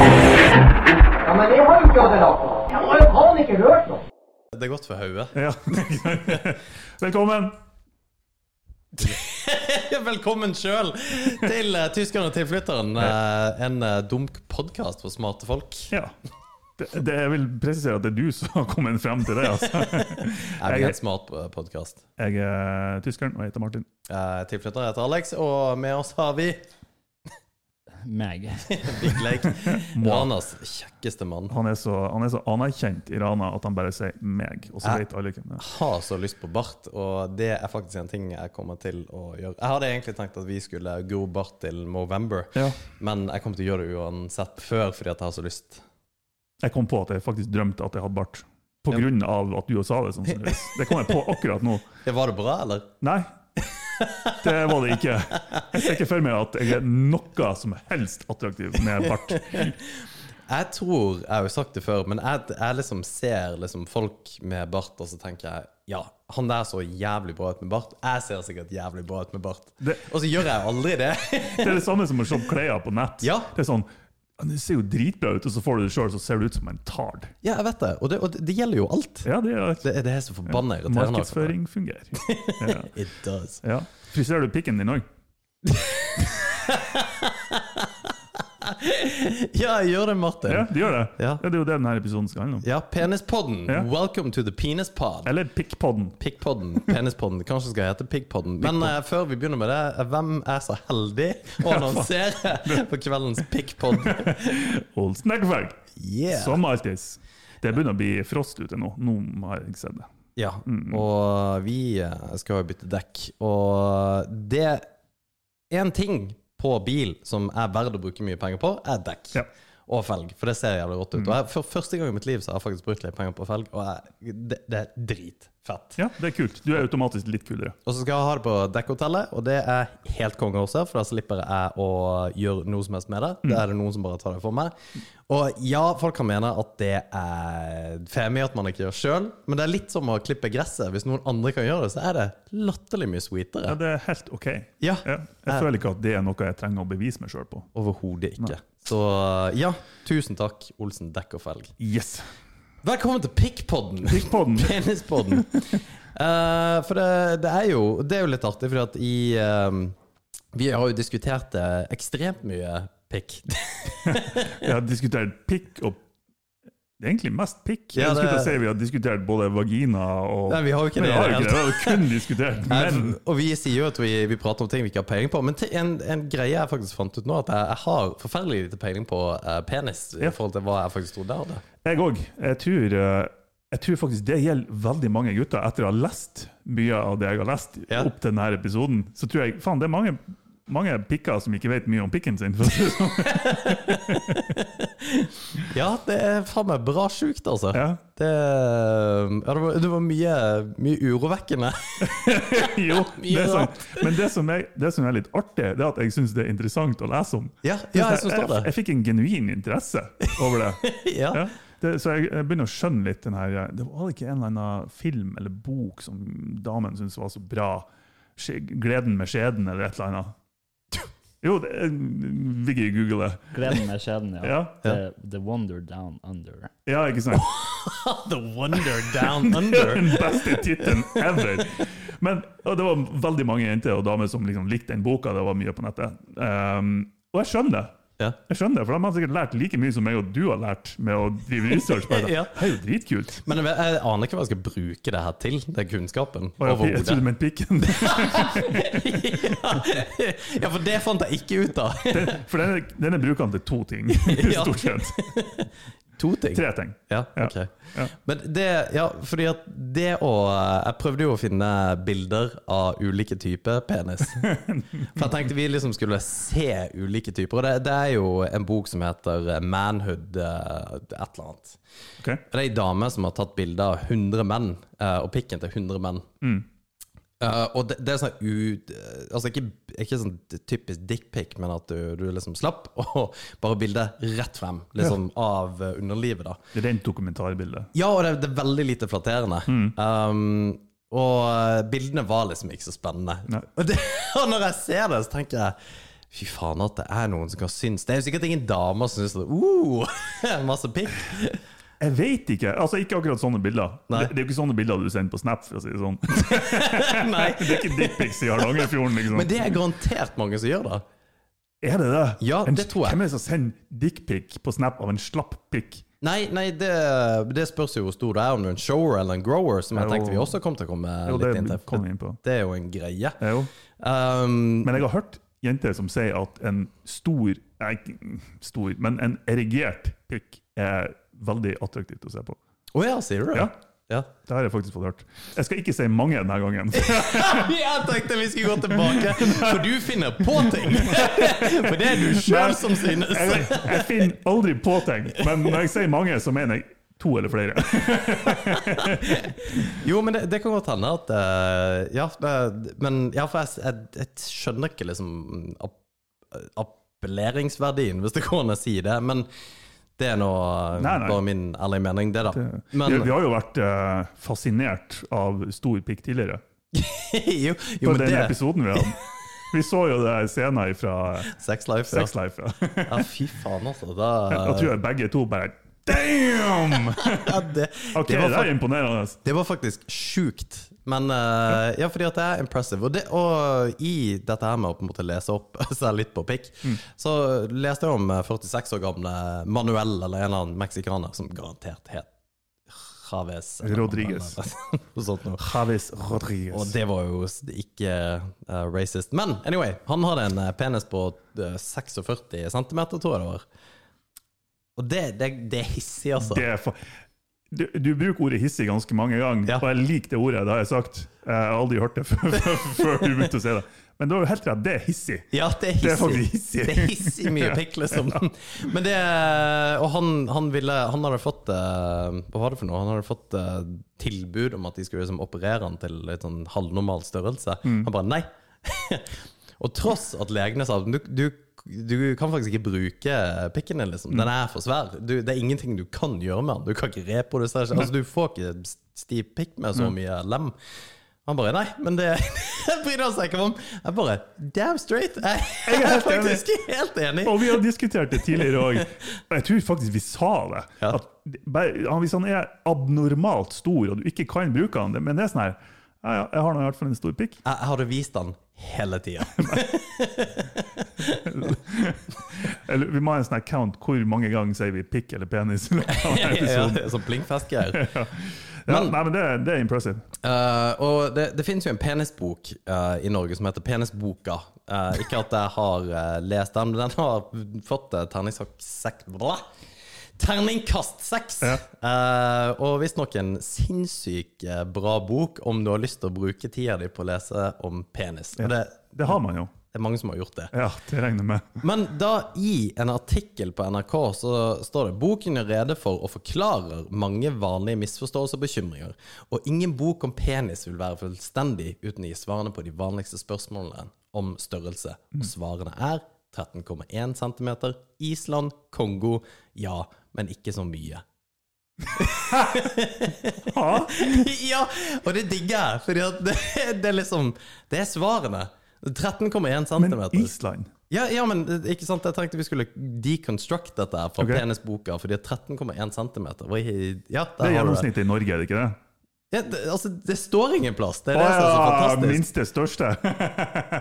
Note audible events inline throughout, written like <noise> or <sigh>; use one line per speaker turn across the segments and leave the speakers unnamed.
Ja, men jeg har jo ikke hatt det lagt på. Jeg har jo faen ikke hørt noe.
Det er godt for hodet.
Ja. <laughs> Velkommen.
Velkommen sjøl til uh, 'Tyskeren og tilflytteren', eh, en eh, dunk podkast for smarte folk.
Ja. Det, det, jeg vil presisere at det er du som har kommet frem til det. Altså.
Er vi en smart eh, podkast?
Jeg er tyskeren og jeg heter Martin.
Tilflytter Eh, heter Alex, og med oss har vi
Meg.
<laughs> Big Lake. Ranas kjekkeste mann.
Han er så, han er så anerkjent i Rana at han bare sier 'meg', og så
Jeg-
vet alle hvem det er.
Har så lyst på bart, og det er faktisk en ting jeg kommer til å gjøre. Jeg hadde egentlig tenkt at vi skulle gro bart til Movember,
Ja.
men jeg kommer til å gjøre det uansett før fordi at jeg har så lyst.
Jeg kom på at jeg faktisk drømte at jeg hadde bart. På
Ja.
grunn av at du også sa det. sannsynligvis. Det kom jeg på akkurat nå.
Ja, var det bra, eller?
Nei, det var det ikke. Jeg ser ikke for meg at jeg er noe som helst attraktiv med bart.
Jeg tror, jeg har jo sagt det før, men jeg, jeg liksom ser liksom folk med bart, og så tenker jeg ja, han der så jævlig bra ut med bart. Jeg ser sikkert jævlig bra ut med bart.
Det-
Og så gjør jeg aldri det. <laughs>
Det er det samme som å se klær på nett.
Ja.
Det er sånn, «Ja, det ser jo dritbra ut, og så får du det sjøl, så ser du ut som en tard.
ja, jeg vet det. Og det, og det- det gjelder jo alt.
Ja, det er
Det, er- det er så forbanna irriterende. altså.
Markedsføring fungerer. Ja.
It does.
ja. Friserer du pikken din òg?
Ja, jeg gjør det, Martin.
Ja,
Ja,
du gjør det.
Ja.
det er jo det denne episoden skal handle om.
Penispodden.
Ja.
Welcome to the penis pod.
Eller pikkpodden.
Piggpodden. Penispodden. Kanskje skal jeg hete Piggpodden. Men eh, før vi begynner med det, eh, hvem er så heldig
<laughs>
å annonsere på kveldens Piggpod?
Old Snackfag,
Yeah.
som alltids. Det begynner å bli frost ute nå. Nå har jeg sett det.
Ja,
Mm.
og vi eh, skal jo bytte dekk. Og det er en ting på bil som er verdt å bruke mye penger på, er dekk.
Ja. Mm.
Og felg, for det ser jævlig rått ut. Og jeg, for første gang i mitt liv så har jeg faktisk brukt litt penger på felg, og jeg, det, det er dritfett.
Ja, det er kult. Du er automatisk litt kulere.
Og så skal jeg ha det på dekkhotellet, og det er helt konge også, for da slipper jeg å gjøre noe som helst med det. Da er det noen som bare tar det for meg. Og ja, folk kan mene at det er femi at man ikke gjør sjøl, men det er litt som å klippe gresset. Hvis noen andre kan gjøre det, så er det latterlig mye
Ja,
sweetere.
det er helt OK.
Ja,
Ja. Jeg føler ikke at det er noe jeg trenger å bevise meg sjøl på.
overhodet ikke. Så ja, tusen takk, Olsen dekk og felg.
Yes!
Velkommen til pikkpodden!
Pikkpodden.
<laughs> Penispodden. Eh, for det, det, er jo, det er jo litt artig, for at i eh, Vi har jo diskutert det ekstremt mye pikk.
Jeg har diskutert pikk og det er egentlig mest pikk.
Ja,
jeg skulle til å
det-
si Vi har diskutert både vagina og
Nei, vi har jo ikke
Nei,
det.
vi har
i
jo
det
ikke det. Vi har jo kun diskutert
hele
menn.
tatt. <laughs> og vi sier jo at vi, vi prater om ting vi ikke har peiling på, men te- en, en greie jeg faktisk fant ut nå, at jeg, jeg har forferdelig lite peiling på eh, penis i
Ja.
forhold til hva jeg faktisk trodde jeg hadde.
Jeg òg. Jeg, tror, eh, jeg tror faktisk det gjelder veldig mange gutter. Etter å ha lest mye av det jeg har lest
Ja.
opp til denne episoden, så tror jeg faen, det er mange, mange pikker som ikke vet mye om pikken sin. for å si det sånn.
Ja, det er faen meg bra sjukt, altså.
Ja.
Det, ehm, ja, det, var, det var mye, mye urovekkende. <laughs>
Jo,
Mye
det er sant.
rart.
Men det som, er, det som er litt artig, det er at jeg syns det er interessant å lese om.
Ja, ja, jeg synes
jeg,
det.
jeg, jeg fikk en genuin interesse over
<laughs>
det.
Ja.
Ja. <laughs> Det, så jeg, jeg begynner å skjønne litt den her Det var ikke en eller annen film eller bok som damen syntes var så bra. Skje- 'Gleden med skjeden' eller et eller annet. Jo, det, Viggy googler.
Gleden med skjeden, ja.
Ja.
The, the Wonder Down Under.
Ja, ikke sant?
The wonder down
<laughs>
under.
Den beste tittelen ever! Men, og det var veldig mange jenter og damer som liksom likte den boka. Det var mye på nettet. Um, og jeg skjønner det.
Ja.
Jeg skjønner det, For de har sikkert lært like mye som meg og du har lært med å drive research. på Det
<laughs> Ja.
Det er jo dritkult.
Men jeg, vet- jeg aner ikke hva jeg skal bruke det her til, den kunnskapen.
Og jeg, jeg trodde
Overhodet.
med pikken.
<laughs> ja, for det fant jeg ikke ut av.
<laughs> For denne, denne bruker han til to ting,
<laughs> Ja.
stort sett.
To ting.
Tre ting.
Ja,
Ja.
ok.
Ja.
Men det, ja, fordi at det å eh, Jeg prøvde jo å finne bilder av ulike typer
<laughs>
penis. For jeg tenkte vi liksom skulle se ulike typer. Og det, det er jo en bok som heter Manhood eh, et eller annet.
Ok.
Det er ei dame som har tatt bilde av 100 menn, eh, og pikken til 100 menn. Eh, og det, det er sånn ut, altså ikke, ikke sånn typisk dickpic, men at du, du liksom slapp, <laughs> og bare bildet rett frem liksom, av eh, underlivet. da.
Det er rent dokumentarbilde.
Ja, og det, det er veldig lite flatterende. Um, og bildene var liksom ikke så spennende.
Nei.
<laughs> Og, det, og når jeg ser det, så tenker jeg Fy faen at det er noen som kan synes Det er jo sikkert ingen damer som syns det. Uh, <laughs> masse pikk.
Jeg vet ikke! Altså, ikke akkurat sånne bilder.
Nei.
Det, det er jo ikke sånne bilder du sender på Snap, for å si det sånn. <laughs>
Nei.
Det er ikke dickpics i Hardangerfjorden, liksom.
Men det er garantert mange som gjør det.
er det det?
Ja,
en,
det tror jeg.
Hvem er det som sender dickpic på Snap av en slapp pikk?
Nei, nei det, det spørs jo hvor stor du er, om du er en shower eller en grower, som jeg
Jo.
tenkte vi også kom til å komme
Jo, det
litt inn til.
kom vi
for
inn på.
Det er jo en greie.
Ja, jo.
Um,
Men jeg har hørt jenter som sier at en stor Nei, ikke stor, men en erigert pikk er veldig attraktivt å se på.
Å ja, sier du det?
Ja.
ja. <laughs>
Det har jeg faktisk fått hørt. Jeg skal ikke si mange denne gangen. <laughs>
Jeg tenkte vi skulle gå tilbake, for du finner på
<laughs>
ting! For det er du sjøl som synes.
Jeg, jeg finner aldri på ting, men når jeg sier mange, så mener jeg to eller flere.
Jo, men det, det kan godt hende at eh, Ja, det, men ja, for jeg, jeg, jeg skjønner ikke liksom app, appelleringsverdien, hvis det går an å si det. Men det er nå eh,
Nei, nei.
bare min ærlige mening, det, da. Men
vi, vi har jo vært eh, fascinert av stor pikk tidligere,
<laughs> jo,
på
jo, men
den
det
episoden vi hadde. Vi så jo det scenen fra
Sex life. Ja.
Sex Life. Ja.
ja, fy faen, altså. Da,
Da tror jeg begge to bare Damn!
ja, det,
Ok,
det
det,
var
er imponerende.
Det var faktisk sjukt. Men eh, ja, fordi at det er impressive. Og, det, og i dette her med å på en måte lese opp <laughs> seg litt på pikk,
Mm.
så leste jeg om eh, 46 år gamle Manuel, eller en eller annen meksikaner, som garantert het Javez. eller noe
Rodriguez.
annet, <laughs> Noe sånt noe.
Javis
Og
Rodriguez.
det var jo s- ikke eh, racist. Men anyway, han hadde en eh, penis på eh, 46 cm, tror jeg det var. Og det, det, det er hissig, altså.
Det er fa- du, du bruker ordet hissig ganske mange ganger,
Ja.
og jeg liker det ordet. det har jeg sagt. Jeg har aldri hørt det <laughs> før, før du begynte å si det. Men du har jo helt rett, det er hissig.
Ja, det er hissig.
Det er faktisk hissig.
Det er hissig
<laughs>
mye pikk, liksom. <laughs> Men det Og han, han ville Han hadde fått eh, Hva var det for noe? Han hadde fått eh, tilbud om at de skulle liksom operere han til litt sånn halvnormal størrelse.
Mm.
Han bare nei. <laughs> og tross at legene sa du, du, du kan faktisk ikke bruke pikken din,
Mm.
liksom. Den er for svær. Du, det er ingenting du kan gjøre med den. Du kan ikke reprodusere seg. Altså, du får ikke stiv pikk med så
Mm.
mye lem. Han bare Nei, men det <laughs> bryr han seg ikke om. Jeg bare Damn straight! <laughs> Jeg,
Jeg er
er
helt enig.
faktisk helt enig.
<laughs> Og vi har diskutert det tidligere òg, og jeg tror faktisk vi sa det.
Ja.
At bare- han- hvis han er abnormalt stor, og du ikke kan bruke han, det- men det er sånn her ja, ja, jeg har nå i hvert fall en stor pikk.
Jeg, jeg hadde vist han hele <laughs> tida.
Eller vi må ha en sånn her count hvor mange ganger sier vi pikk eller penis. <laughs> i løpet av denne
Ja,
episoden.
sånn <laughs> blinkfest-greier.
Ja,
Men-
nei, men det, det er impressive.
Eh, og det, det finnes jo en penisbok eh, i Norge som heter Penisboka. Eh, ikke at jeg har eh, lest den, men den har fått uh, terningskast Terningkast seks!
Ja.
Eh, og visstnok en sinnssykt eh, bra bok om du har lyst til å bruke tida di på å lese om penis. Og det,
Det har man jo.
det er mange som har gjort det.
Ja, det regner jeg med.
Men da i en artikkel på NRK så står det boken er rede for og forklarer mange vanlige misforståelser og bekymringer, og ingen bok om penis vil være fullstendig uten å gi svarene på de vanligste spørsmålene om størrelse. Og svarene er 13,1 cm, Island, Kongo, ja, men ikke så mye. <laughs>
Ha?
ja, og det digger jeg, for <laughs> det, det er liksom Det er svarene. 13,1 cm.
Men Island?
Ja, ja, men eh, ikke sant? jeg tenkte vi skulle deconstruct dette her fra
Ok.
penisboka, fordi 13,1 cm ja, der
Det er
har du det.
gjennomsnittet i Norge, er det ikke det?
Ja, det, altså, det står ingen plass! Det er
Å
det som er så
ja,
fantastisk.
minste største.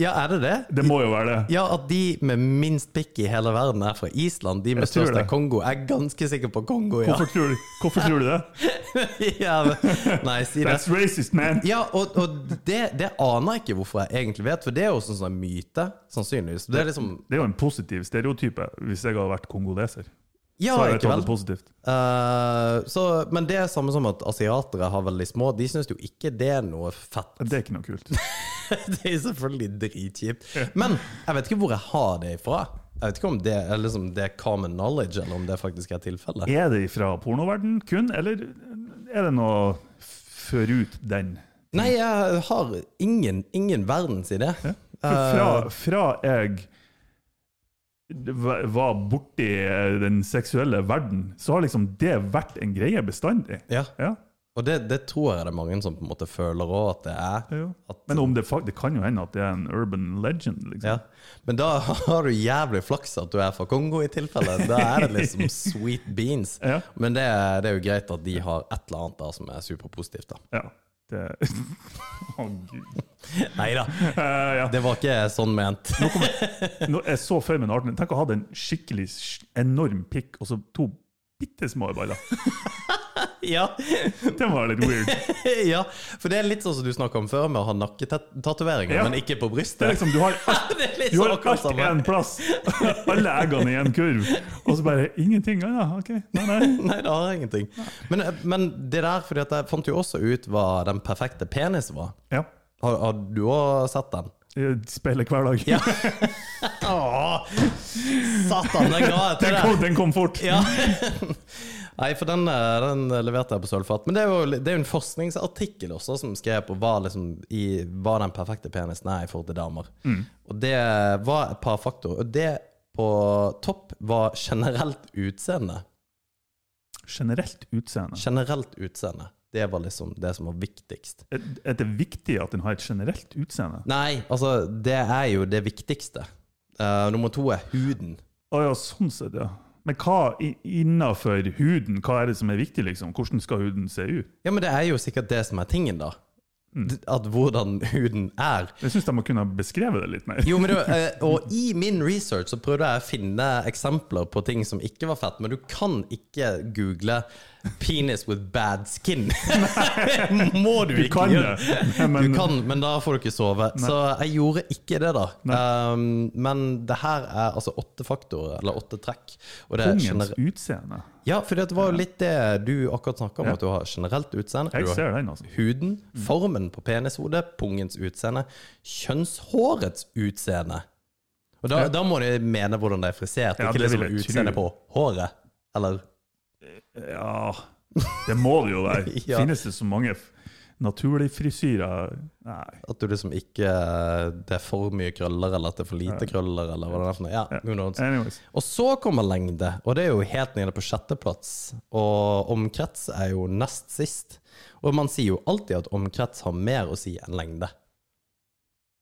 Ja, er det det?
Det må jo være det.
Ja, At de med minst pikk i hele verden er fra Island. De med
Jeg tror
størst er
det.
Kongo. Jeg er ganske sikker på Kongo, ja.
Hvorfor tror, du, hvorfor tror du det?
<laughs> ja men- nei, si det.
That's racist, man!
Ja, og, og det, det aner jeg ikke hvorfor jeg egentlig vet, for det er jo sånn som en myte, sannsynligvis. Det er liksom
Det er jo en positiv stereotype, hvis jeg hadde vært kongoleser.
Ja,
Så har jeg
ikke
tatt
vel.
det positivt.
Eh, så, men det er samme som at asiatere har veldig små. De syns jo ikke det er noe fett. <laughs>
Det er ikke noe kult.
Det er selvfølgelig dritkjipt. Men jeg vet ikke hvor jeg har det ifra. Jeg vet ikke om det er, liksom, det er common knowledge, eller om det faktisk er tilfellet.
Er det fra pornoverden kun, eller er det noe forut den?
Nei, jeg har ingen, ingen verdensidé. Eh.
For fra, fra jeg va- var borti den seksuelle verden, så har liksom det vært en greie bestandig.
Ja.
Ja,
Og det, det tror jeg det er mange som på en måte føler òg at det er.
jo.
At,
Men om det, fak- det kan jo hende at det er en urban legend. liksom.
ja. Men da <laughs> har du jævlig flaks at du er fra Kongo, i tilfelle. Da er det
<laughs>
liksom sweet beans.
Ja.
Men det, er- det er jo greit at de har et eller annet der som er superpositivt, da.
Ja, det... <laughs> Å, Gud.
Nei da,
Eh, ja.
det var ikke sånn ment.
Nå, jeg så før med Arten. Tenk å ha den skikkelig s- enorm pikk, og så to bitte små baller.
<laughs> ja. <laughs>
Det var litt weird.
ja, for det er litt sånn som du snakka om før, med å ha nakketatoveringer,
Ja.
men ikke på
Det er
brystet.
liksom, du har alt,
<laughs> Det er litt
du har
sånn akkurat
alt i
samme.
en plass. Alle eggene i en kurv. Og så bare ingenting. Ja, ja, ok. Nei, nei.
<laughs> Nei, det har jeg ingenting. Men, men det der, fordi at jeg fant jo også ut hva den perfekte penis var.
Ja.
Har, har du òg sett
<laughs>
den?
jeg Speiler hver dag.
Ja. Åh, satan, den ga jeg til
<laughs> Den kom,
deg!
den kom fort.
Ja. <laughs> Nei, for den, eh, den leverte jeg på sølvfat. Men det er, jo, det er jo en forskningsartikkel også som skrev på hva, liksom, i, hva den perfekte penisen er i forhold til damer. Og det var et par faktorer. Og det på topp var generelt utseende.
Generelt utseende.
Generelt utseende. Det var liksom det som var viktigst.
Er er det viktig at den har et generelt utseende?
Nei, altså, det er jo det viktigste. Eh, nummer to er huden.
Å ja, sånn sett, ja. Men hva i- innenfor huden, hva er det som er viktig, liksom? Hvordan skal huden se ut?
Ja, men det er jo sikkert det som er tingen, da. D- At hvordan huden er.
Jeg syns de må kunne ha beskrevet det litt mer.
Jo, men du, eh, og i min research så prøvde jeg å finne eksempler på ting som ikke var fett, men du kan ikke google 'penis with bad skin'. <laughs> Må du,
Du
ikke
kan
gjøre.
det, men
Du kan, men da får du ikke sove. Så jeg gjorde ikke det, da. Um, men det her er altså åtte faktorer, eller åtte trekk. Og det er
kongens
gener-
utseende.
ja, for det var jo litt det du akkurat snakka om,
Ja.
at du har generelt utseende.
Jeg
du har
ser den, altså.
Huden, formen på penishodet, pungens utseende, kjønnshårets utseende. Og da,
Ja.
da må du mene hvordan det er frisert,
Ja,
ikke
det vil
liksom
jeg
utseende
tro.
på håret. Eller
Ja, det må det jo være.
<laughs> Ja.
Finnes det så mange f- naturlige frisyrer? Nei.
at du liksom ikke Det er for mye krøller, eller at det er for lite krøller, eller hva det er for noe. Ja, who knows.
Anyways.
Og så kommer lengde, og det er jo helt nede på sjetteplass. Og omkrets er jo nest sist. Og man sier jo alltid at omkrets har mer å si enn lengde.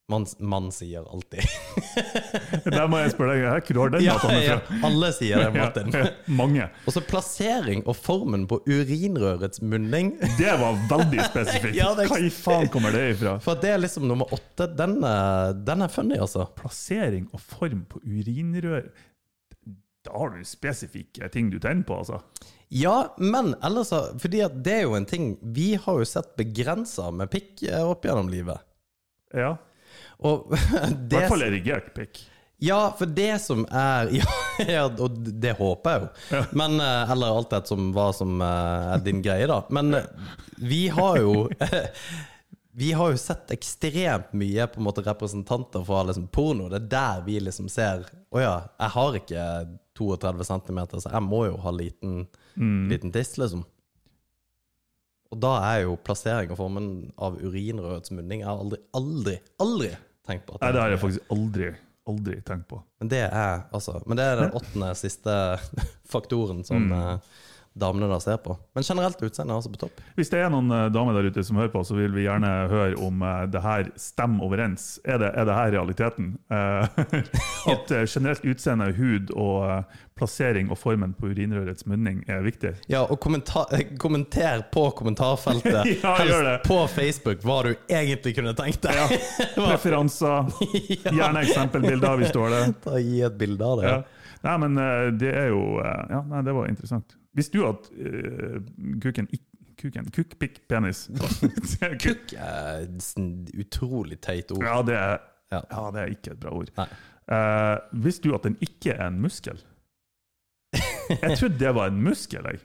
Man, man sier alltid.
Der må jeg spørre deg, hvor har den
Ja,
dataen
ja,
fra?
alle sier det, Martin.
<laughs> Ja, mange.
Og så plassering og formen på urinrørets munning.
Det var
<laughs>
veldig spesifikt.
Ja, det er-
Hva i faen kommer det ifra?
For det er liksom nummer åtte. Den er, den er funny, altså.
Plassering og form på urinrør. Da har du spesifikke ting du tenner på, altså.
Ja, men ellers så- Fordi at det er jo en ting Vi har jo sett begrensa med pikk eh, opp gjennom livet.
Ja.
Og <laughs>
I
det
hvert fall erigert pikk.
Ja, for det som er <laughs> Ja, ja og det håper jeg jo. Men, eh, eller alt det som var som eh, er din greie, da. Men eh, vi har jo <laughs> Vi har jo sett ekstremt mye på en måte representanter fra liksom porno. Det er der vi liksom ser Å ja, jeg har ikke 32 cm, så jeg må jo ha liten,
Mm.
liten tiss, liksom. Og da er jo plassering og formen av urinrørets munning Jeg har aldri, aldri, aldri tenkt på at
Nei, det har jeg faktisk aldri, aldri tenkt på.
men det er altså Men det er den åttende siste <laughs> faktoren
Mm.
som eh, damene da ser på. Men generelt utseende er altså på topp.
Hvis det er noen eh, damer der ute som hører på, så vil vi gjerne høre om eh, det her stemmer overens. Er det, er det her realiteten? Eh, <laughs> at eh, generelt utseende, hud og eh, plassering og formen på urinrørets munning er viktig?
Ja, og kommenta eh, kommenter på kommentarfeltet.
<laughs> Ja, gjør det.
på Facebook hva du egentlig kunne tenkt <laughs> deg.
Preferanser, gjerne eksempelbilder hvis du
<laughs>
har det.
Ta Gi et bilde av det.
Ja. Nei, men eh, det er jo eh, Ja, nei, det var interessant. Visste du at eh, kuken ikk- Kuken, kukk, pikk, penis. Kukk.
Eh, sn- utrolig teit ord.
Ja, det er,
Ja.
ja, det er ikke et bra ord.
Nei.
Eh, visste du at den ikke er en muskel? Jeg trodde det var en muskel. Jeg,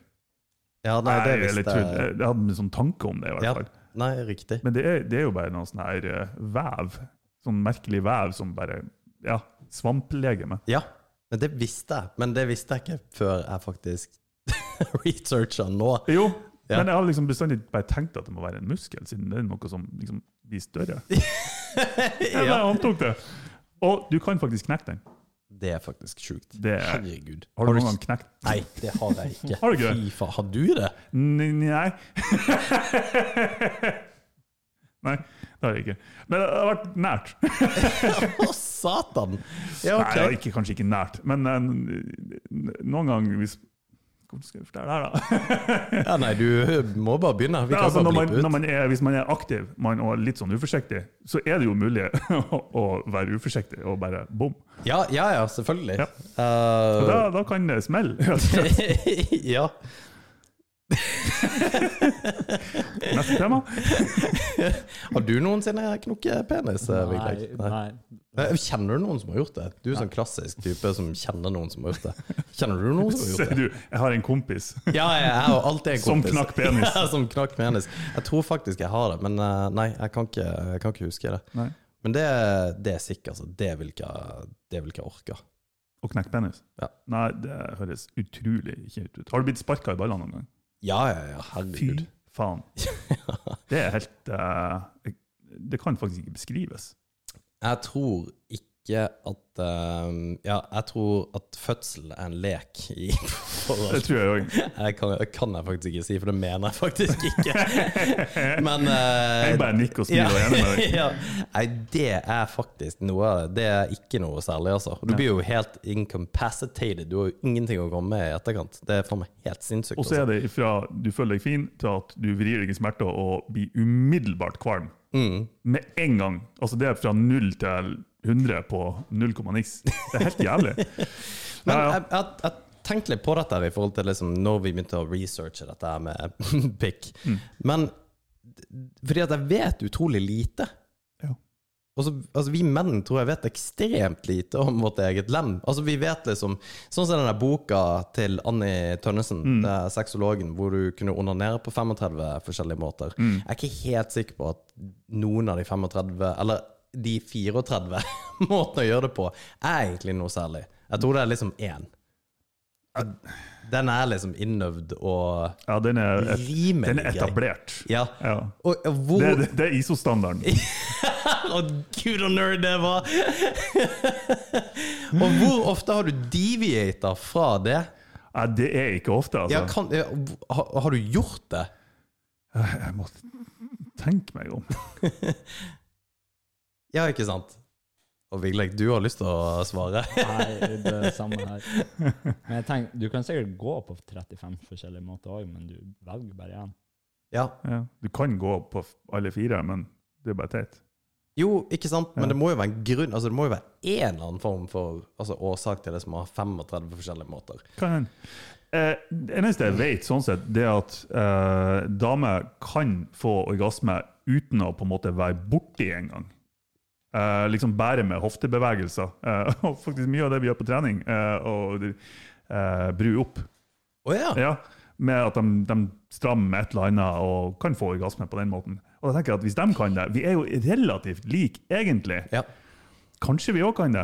Ja, <laughs> nei, det
Nei, eller
visste
trodde,
jeg.
jeg hadde en sånn tanke om det. i hvert
Ja.
fall.
Nei, riktig.
Men det er, det er jo bare noe sånn her eh, vev. Sånn merkelig vev som bare Ja, svamplegeme.
Ja, men det visste jeg. Men det visste jeg ikke før jeg faktisk <laughs> researcha nå.
Jo,
Ja.
men jeg har liksom bestandig bare tenkt at det må være en muskel, siden det er noe som liksom blir
<laughs>
større. Jeg
ja.
bare antok det. Og du kan faktisk knekke den.
Det er faktisk sjukt.
Det er-
Herregud.
Har du noen gang knekt
Nei, det har jeg ikke.
Har du ikke det?
Fy faen, har du det?
N- Nei. <laughs> Nei, det har jeg ikke. Men det har vært nært.
Å, satan! Ja,
Nei, det har
ok.
ikke, kanskje ikke nært, men eh, n- noen gang hvis Hvordan skal jeg fortelle det her, da?
Ja, nei, du må bare begynne. Vi
Nei,
kan
altså, når
bare
man,
blippe ut.
når man er, hvis man er aktiv man, og litt sånn uforsiktig, så er det jo mulig <laughs> å, å være uforsiktig og bare bom.
Ja, ja, ja, selvfølgelig.
Ja.
Eh,
Og Da, da kan det smelle. rett og slett.
<laughs> ja.
Neste
<laughs>
tema.
Har du noensinne knukket penis? eh, Vigdis?
Nei, nei.
Nei, Kjenner du noen som har gjort det? Du er sånn klassisk type som kjenner noen som har gjort det. Kjenner du noen som har
Ser
gjort det?
du, jeg har en kompis.
Ja, jeg har alltid en
Som
kompis.
knakk penis.
<laughs> Ja, som knakk penis. Jeg tror faktisk jeg har det, men eh, nei, jeg kan ikke, jeg kan ikke huske det.
Nei.
Men det, det er sikkert, altså. Det vil ikke det vil ikke jeg orke.
Og knekt penis.
Ja.
Nei, det høres utrolig kjipt ut. Har du blitt sparka i ballene noen gang?
Ja, ja, ja,
Fy
herregud. <laughs>
faen. Det er helt eh, Det kan faktisk ikke beskrives.
Jeg tror ikke at eh, Ja, jeg tror at fødsel er en lek i <laughs> forhold
Det tror jeg òg.
Jeg kan, jeg kan jeg faktisk ikke si, for det mener jeg faktisk
<laughs>
ikke. Men eh,
Jeg bare nikker og
ja,
smiler og er enig
<laughs>
med deg.
ja. Nei, det er faktisk noe Det er ikke noe særlig, altså. Du blir jo helt incapacitated. Du har jo ingenting å komme med i etterkant. Det er for meg helt sinnssykt.
Og så
altså.
er det fra du føler deg fin, til at du vrir deg i smerter og blir umiddelbart kvalm.
Mm.
Med en gang. Altså det er fra null til 100 på null komma niks. Det er helt
<laughs>
jævlig.
Men eh,
Ja, ja.
jeg, jeg, jeg tenkte litt på dette her i forhold til liksom når vi begynte å researche dette her med <laughs> pikk.
Mm.
Men fordi at jeg vet utrolig lite.
Ja.
Og så- altså, vi menn tror jeg vet ekstremt lite om vårt eget lem. Altså, vi vet liksom, Sånn som den der boka til Anni
Mm.
Tønnesen, det er sexologen, hvor du kunne onanere på 35 forskjellige måter.
Mm.
Jeg er ikke helt sikker på at noen av de 35, eller de 34 <laughs> måtene å gjøre det på, er egentlig noe særlig. Jeg tror det er liksom én. Den er liksom innøvd og
Ja, den er, et,
Rimelig
den er
grei.
etablert.
Ja.
Ja.
Og, og hvor
Det, det, det er ISO-standarden.
Å, gud og nerd det var! <laughs> og hvor ofte har du deviater fra det?
Ja, det er ikke ofte, altså.
Ja, kan, ja, har, har du gjort det?
Jeg må tenke meg om.
Ja, ikke sant? Og Vigleg, du har lyst til å svare? <laughs>
Nei, det er det samme her. Men jeg tenker, du kan sikkert gå på 35 forskjellige måter òg, men du velger bare én.
ja.
Ja. Du kan gå på f- alle fire, men det er bare teit.
Jo, ikke sant? Men det må jo være en grunn Altså det må jo være en eller annen form for altså, årsak til det som har 35 forskjellige måter.
Kan hende. Eh, det eneste jeg vet, sånn sett, det er at eh, damer kan få orgasme uten å på en måte være borti en gang. Eh, liksom bare med hoftebevegelser. Eh, <laughs> og faktisk mye av det vi gjør på trening, eh, og eh, bru opp.
Å ja.
Ja, med at de, de strammer et eller annet og kan få orgasme på den måten. Og da tenker jeg at Hvis de kan det Vi er jo relativt like, egentlig.
ja!
Kanskje vi òg kan det?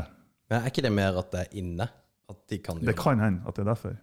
Men er ikke det mer at det er inne? At de kan
Det
gjøre
kan hende at det er derfor.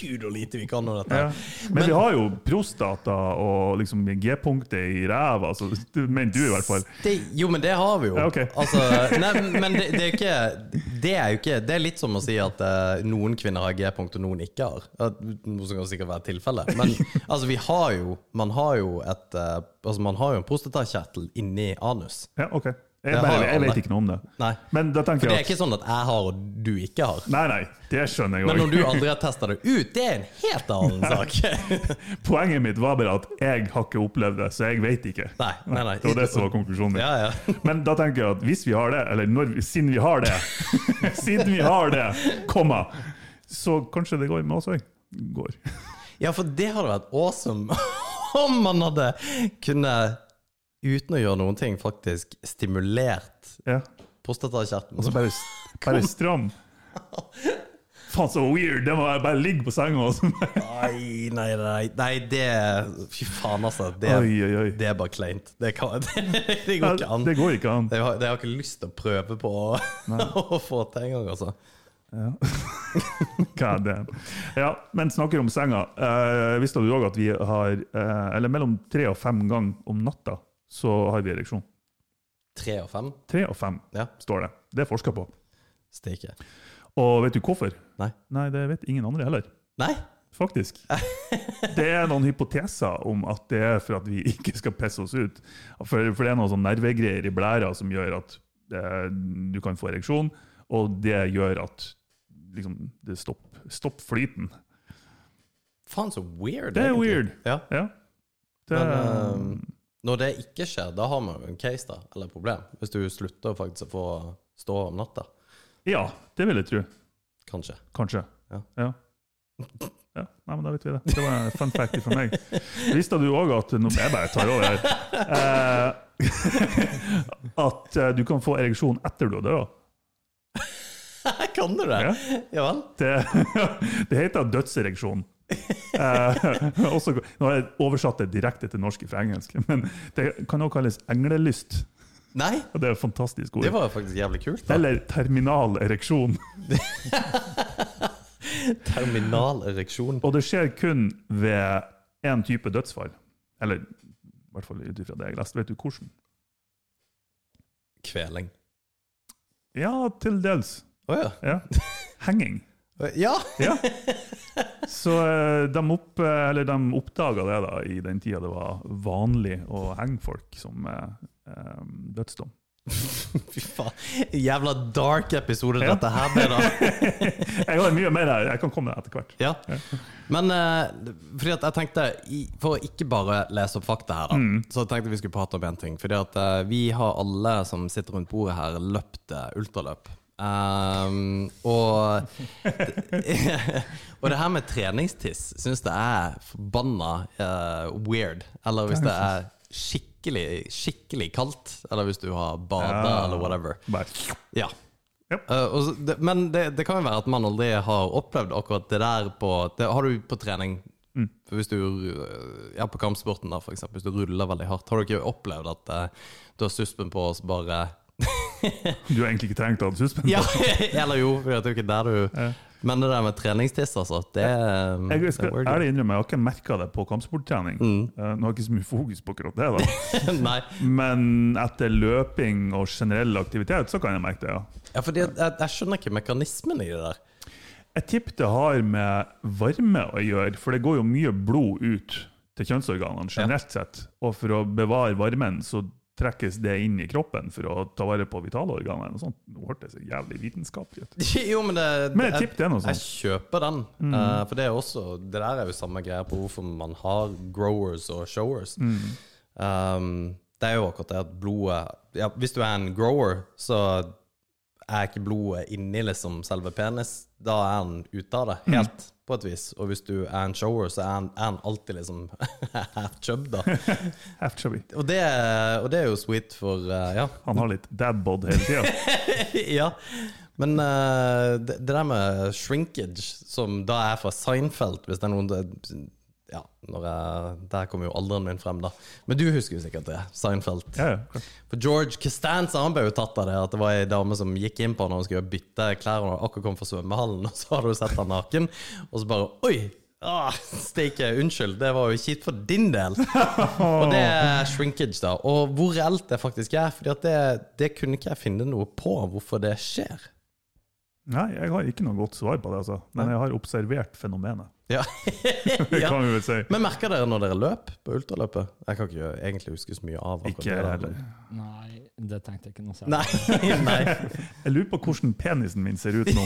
Gud og lite vi kan om dette.
Ja. Men, vi har jo prostata og liksom G-punktet i ræva, altså, du- men du i hvert fall.
Det, jo, men det har vi jo.
Ja, ok.
altså, nei, men det, det, er ikke, det er jo ikke Det er litt som å si at eh, noen kvinner har G-punkt og noen ikke har. At- Noe som kan sikkert være tilfellet.
<laughs>
Men altså, vi har jo Man har jo et eh, Altså, man har jo en prostatakjertel inni anus.
Ja, ok.
Det
Jeg,
har
bare,
jo
jeg
alle.
vet ikke noe om det.
Nei.
Men da tenker
For det
jeg
er
at
ikke sånn at jeg har og du ikke har.
Nei, nei, det skjønner jeg
Men når
òg.
du aldri har testa det ut, det er en helt annen sak.
<laughs>
<laughs>
Poenget mitt var bare at jeg har ikke opplevd det, så jeg vet ikke.
Nei, nei, nei.
<laughs> Det var det som var konklusjonen min.
Ja, ja.
Men da tenker jeg at hvis vi har det, eller når, vi- siden vi har det, <laughs> siden vi har det, komma, så kanskje det går med oss òg. Går.
Ja, for det hadde vært awesome <laughs> om man hadde kunnet, uten å gjøre noen ting, faktisk stimulert
Ja. Altså,
prostatakjertelen.
Bare, bare stram. Faen, så weird! Det må jeg bare ligge på senga og sånn.
Nei, nei, nei. nei det, fy faen, altså. Det,
Oi, oi, oi.
det er bare kleint. Det, kan, <laughs> det, går ikke an.
Det går ikke an.
Jeg har, jeg har ikke lyst til å prøve på å, <laughs> å få til engang, altså.
God damn. Ja, men snakker om senga. Eh, visste du òg at vi har eh, Eller mellom tre og fem ganger om natta så har vi ereksjon.
Tre og fem?
Tre og fem,
Ja.
står det. Det er forska på.
Steike.
Og vet du hvorfor?
Nei.
Nei, det vet ingen andre heller.
Nei? <laughs>
Faktisk. Det er noen hypoteser om at det er for at vi ikke skal pisse oss ut. For, for det er noen sånne nervegreier i blæra som gjør at eh, du kan få ereksjon, og det gjør at liksom, det stopper stopp flyten.
Faen, så weird.
Det er
egentlig.
weird.
Ja.
Ja. Det,
Men, ehm, Når det ikke skjer, da har man jo en case, da. Eller et problem. Hvis du slutter faktisk å få stå om natta.
ja, det vil jeg tro.
Kanskje.
Kanskje.
Ja.
ja. Ja, Nei, men da vet vi det. Det var en fun fact fra meg. Visste du òg at Nå jeg bare tar over her. Eh, <laughs> at eh, du kan få ereksjon etter du har dødd.
<laughs> kan du det?
Ja.
Ja vel?
Det, <laughs> det heter dødsereksjon. Eh, <laughs> også, nå har jeg oversatt det direkte til norsk fra engelsk, men det kan også kalles englelyst.
Nei?
Og det er et fantastisk
Det
ord.
var jo faktisk jævlig kult. da.
Eller terminal ereksjon.
<laughs> Terminal ereksjon.
Og det skjer kun ved én type dødsfall. Eller i hvert fall ut ifra det jeg leste. Vet du hvordan?
Kveling.
Ja, til dels.
Å
Ja. Henging.
ja.
Ja. Så eh, de, opp, eller de oppdaga det da, i den tida det var vanlig å henge folk som eh, eh, dødsdom.
ja! <laughs> Fy faen. Jævla dark episode
Ja.
dette her
<laughs>
ble, da.
Jeg har mye mer her, jeg kan komme etter hvert.
Ja. Men eh, fordi at jeg tenkte, i- for å ikke bare lese opp fakta her, da, så tenkte jeg vi skulle prate om én ting. Fordi at eh, vi har alle som sitter rundt bordet her, løpt eh, ultraløp. Ehm, og, og det <laughs> her med treningstiss syns jeg er forbanna eh, weird. Eller hvis det er skikkelig, skikkelig kaldt, eller hvis du har bada
Ja.
eller whatever.
Bare,
Ja.
Ja.
Eh, og så, det, men det, det kan jo være at man aldri har opplevd akkurat det der på det, Har du på trening
Mm.
for Hvis du eh, ja, på kampsporten, da, for eksempel, hvis du ruller veldig hardt, har du ikke opplevd at eh, du har suspen på og så bare
du har egentlig ikke trengt å ha det suspendert.
Ja, <laughs> eller jo, for det er jo ikke der du Men det der med treningstiss, altså, det er eh,
Jeg
det Mm.
skal
er weird.
ærlig innrømme, jeg har ikke merka det på kampsporttrening. Eh, Nå har jeg ikke så mye fokus på akkurat det. da.
<laughs> Nei.
Men etter løping og generell aktivitet, så kan jeg merke det, ja.
Ja, fordi jeg, jeg, jeg skjønner ikke mekanismen i det der.
Jeg tipper det har med varme å gjøre, for det går jo mye blod ut til kjønnsorganene generelt sett. Og for å bevare varmen, så trekkes det inn i kroppen for å ta vare på vitale organer. og sånt. Nå hørtes det jævlig vitenskapelig ut.
<laughs> jo, men det,
Men jeg tipper det er noe
Jeg
sånt.
kjøper den. eh, for det er også Det der er jo samme greia på hvorfor man har growers og showers. Um, det er jo akkurat det at blodet ja, Hvis du er en grower, så er ikke blodet inni liksom selve penis. Da er den ute av det, helt, på et vis. Og hvis du er en shower, så er den, er den alltid liksom <laughs> half chub, da.
Half chubby.
Og det, og det er jo sweet for eh, Ja.
Han har litt dad-bod hele
<laughs>
tida.
ja. Men eh, det, det der med shrinkage, som da er fra Seinfeld Hvis det er noen Ja, når jeg, der kommer jo alderen min frem, da. Men du husker jo sikkert det. Seinfeld.
Ja, ja, klart.
For George Costanza han ble jo tatt av det at det var ei dame som gikk inn på han når han skulle bytte klær. Og han akkurat kom fra svømmehallen, <laughs> og så hadde hun sett han naken. Og så bare Oi! Ah, Steike, unnskyld. Det var jo kjipt for din del. Og det er shrinkage, da. Og hvor reelt det faktisk er. For det, det kunne ikke jeg finne noe på hvorfor det skjer.
Nei, jeg har ikke noe godt svar på det, altså. men jeg har observert fenomenet.
Ja.
Det
<laughs> ja.
kan vi vel si.
Men merker dere når dere løp på ultraløpet? Jeg kan ikke egentlig huske så mye av akkurat
Ikke
det.
jeg
da.
heller.
Nei, det tenkte jeg ikke noe særlig
Nei, <laughs> nei.
<laughs> Jeg lurer på hvordan penisen min ser ut
<laughs>
nå.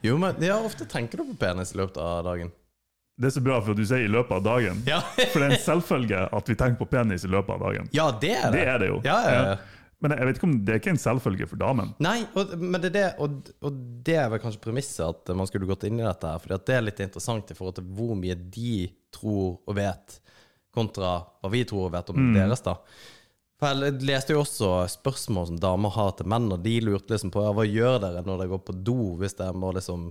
Jo, men ja, ofte tenker du på penis i løpet av dagen.
Det er så bra for at du sier i løpet av dagen.
Ja,
For det er en selvfølge at vi tenker på penis i løpet av dagen.
ja det er det.
Det er det jo. Eh,
Ja, ja, ja.
Men jeg vet ikke om det er ikke en selvfølge for damen.
Nei, og, men det er det, og, og det er vel kanskje premisset at man skulle gått inn i dette her, for det er litt interessant i forhold til hvor mye de tror og vet, kontra hva vi tror og vet om deres, da. For jeg leste jo også spørsmål som damer har til menn, og de lurte liksom på ja, hva gjør dere når dere går på do hvis dere må liksom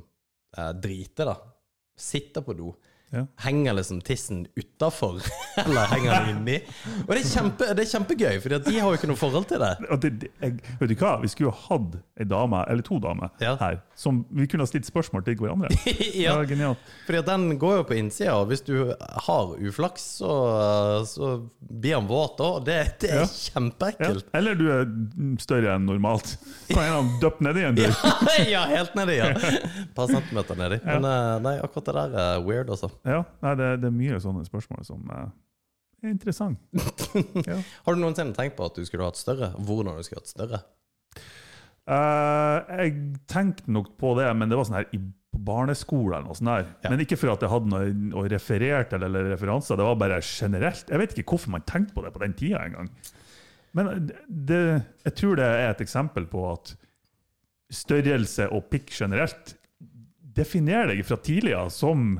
eh, drite, da? Sitter på do.
Ja.
Henger liksom tissen utafor, <laughs> eller henger den inni? Og det er, kjempe, det er kjempegøy, for de har jo ikke noe forhold til det.
Og det, det, jeg, vet du hva? Vi skulle jo hatt ei dame, eller to damer,
Ja.
her som vi kunne ha stilt spørsmål til
<laughs>
hverandre.
ja,
genialt.
fordi at den går jo på innsida, og hvis du har uflaks, så, så blir den våt da, og det, det er
Ja. Ja.
kjempeekkelt.
Eller du er større enn normalt. <laughs> Kan en av dem døppe nedi en tur?
<laughs> ja, helt nedi, ja. Et par centimeter nedi. Men eh, nei, akkurat det der er weird, altså.
Ja. Nei, det, det er mye sånne spørsmål som eh, er
<laughs>
interessant. Ja.
Har du noensinne tenkt på at du skulle hatt større? Hvordan du skulle hatt større?
Eh, jeg tenkte nok på det, men det var sånn her i barneskolen eller noe sånt der.
Ja.
Men ikke for at jeg hadde noe å referere til eller referanser, det var bare generelt. Jeg vet ikke hvorfor man tenkte på det på den tida engang. Men eh, det, jeg tror det er et eksempel på at størrelse og pikk generelt definerer deg fra tidligere som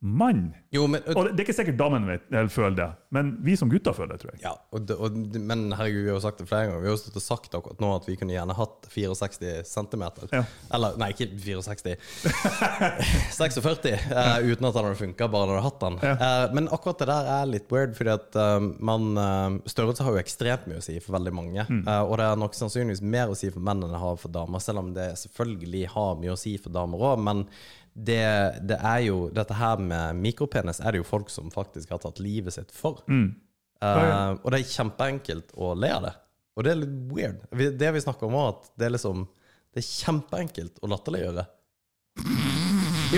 mann.
Jo, men,
Og det, det er ikke sikkert damen vet, eller føler det, men vi som gutter føler det, tror jeg.
ja, og, det- og, det- men herregud, vi har jo sagt det flere ganger. Vi har jo stått og sagt akkurat nå at vi kunne gjerne hatt 64 cm.
Ja.
Eller nei, ikke <laughs> 64. 46, eh, uten at den hadde funka, bare hadde hatt den. Eh, men akkurat det der er litt weird, fordi at eh, man eh, Størrelse har jo ekstremt mye å si for veldig mange.
Mm.
Eh, og det er nok sannsynligvis mer å si for menn enn det har for damer, selv om det selvfølgelig har mye å si for damer òg. Men det, det er jo dette her med mikropenis er det jo folk som faktisk har tatt livet sitt for.
Mm.
Eh,
ja.
og det er kjempeenkelt å le av det. Og det er litt weird. Vi- Det vi snakker om, var at det er liksom Det er kjempeenkelt å latterliggjøre.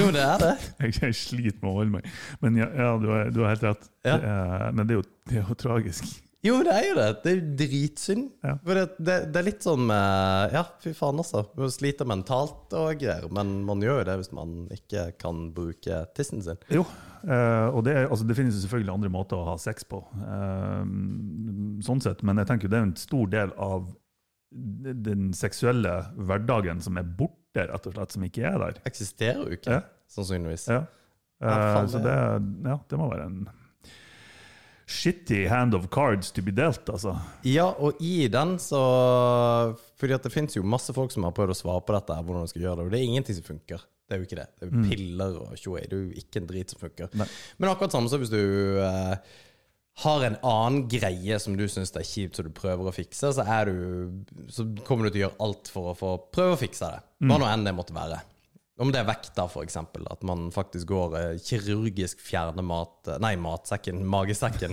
Jo, det er det.
Jeg, jeg sliter med å holde meg. Men ja, ja du, har, du har helt rett.
Ja.
Det er- men det er, jo, det er jo tragisk.
Jo, men det er jo det. Det er jo dritsynd.
Ja.
For det, det, det er litt sånn eh, Ja, fy faen, altså. Man sliter mentalt og greier, men man gjør jo det hvis man ikke kan bruke tissen sin.
Jo, eh, og det, er- altså, det finnes jo selvfølgelig andre måter å ha sex på, eh, sånn sett. Men jeg tenker jo det er en stor del av den seksuelle hverdagen som er borte, rett og slett, som ikke er der.
Eksisterer jo ikke,
Ja.
sannsynligvis.
Ja.
Ja,
Eh,
faen,
så det, ja, det må være en shitty hand of cards to be dealt, altså.
Ja, og i den så Fordi at det finnes jo masse folk som har prøvd å svare på dette, her, hvordan de skal gjøre det, og det er ingenting som funker. Det er jo ikke det. Det er jo piller og tjoei. Det er jo ikke en drit som funker.
Nei.
Men akkurat samme som hvis du eh, har en annen greie som du syns er kjipt, som du prøver å fikse, så, er du, så kommer du til å gjøre alt for å få prøve å fikse det. Hva nå enn det måtte være. Om det er vekta, for eksempel. At man faktisk går eh, kirurgisk fjerner mat... eh, Nei, matsekken. Magesekken.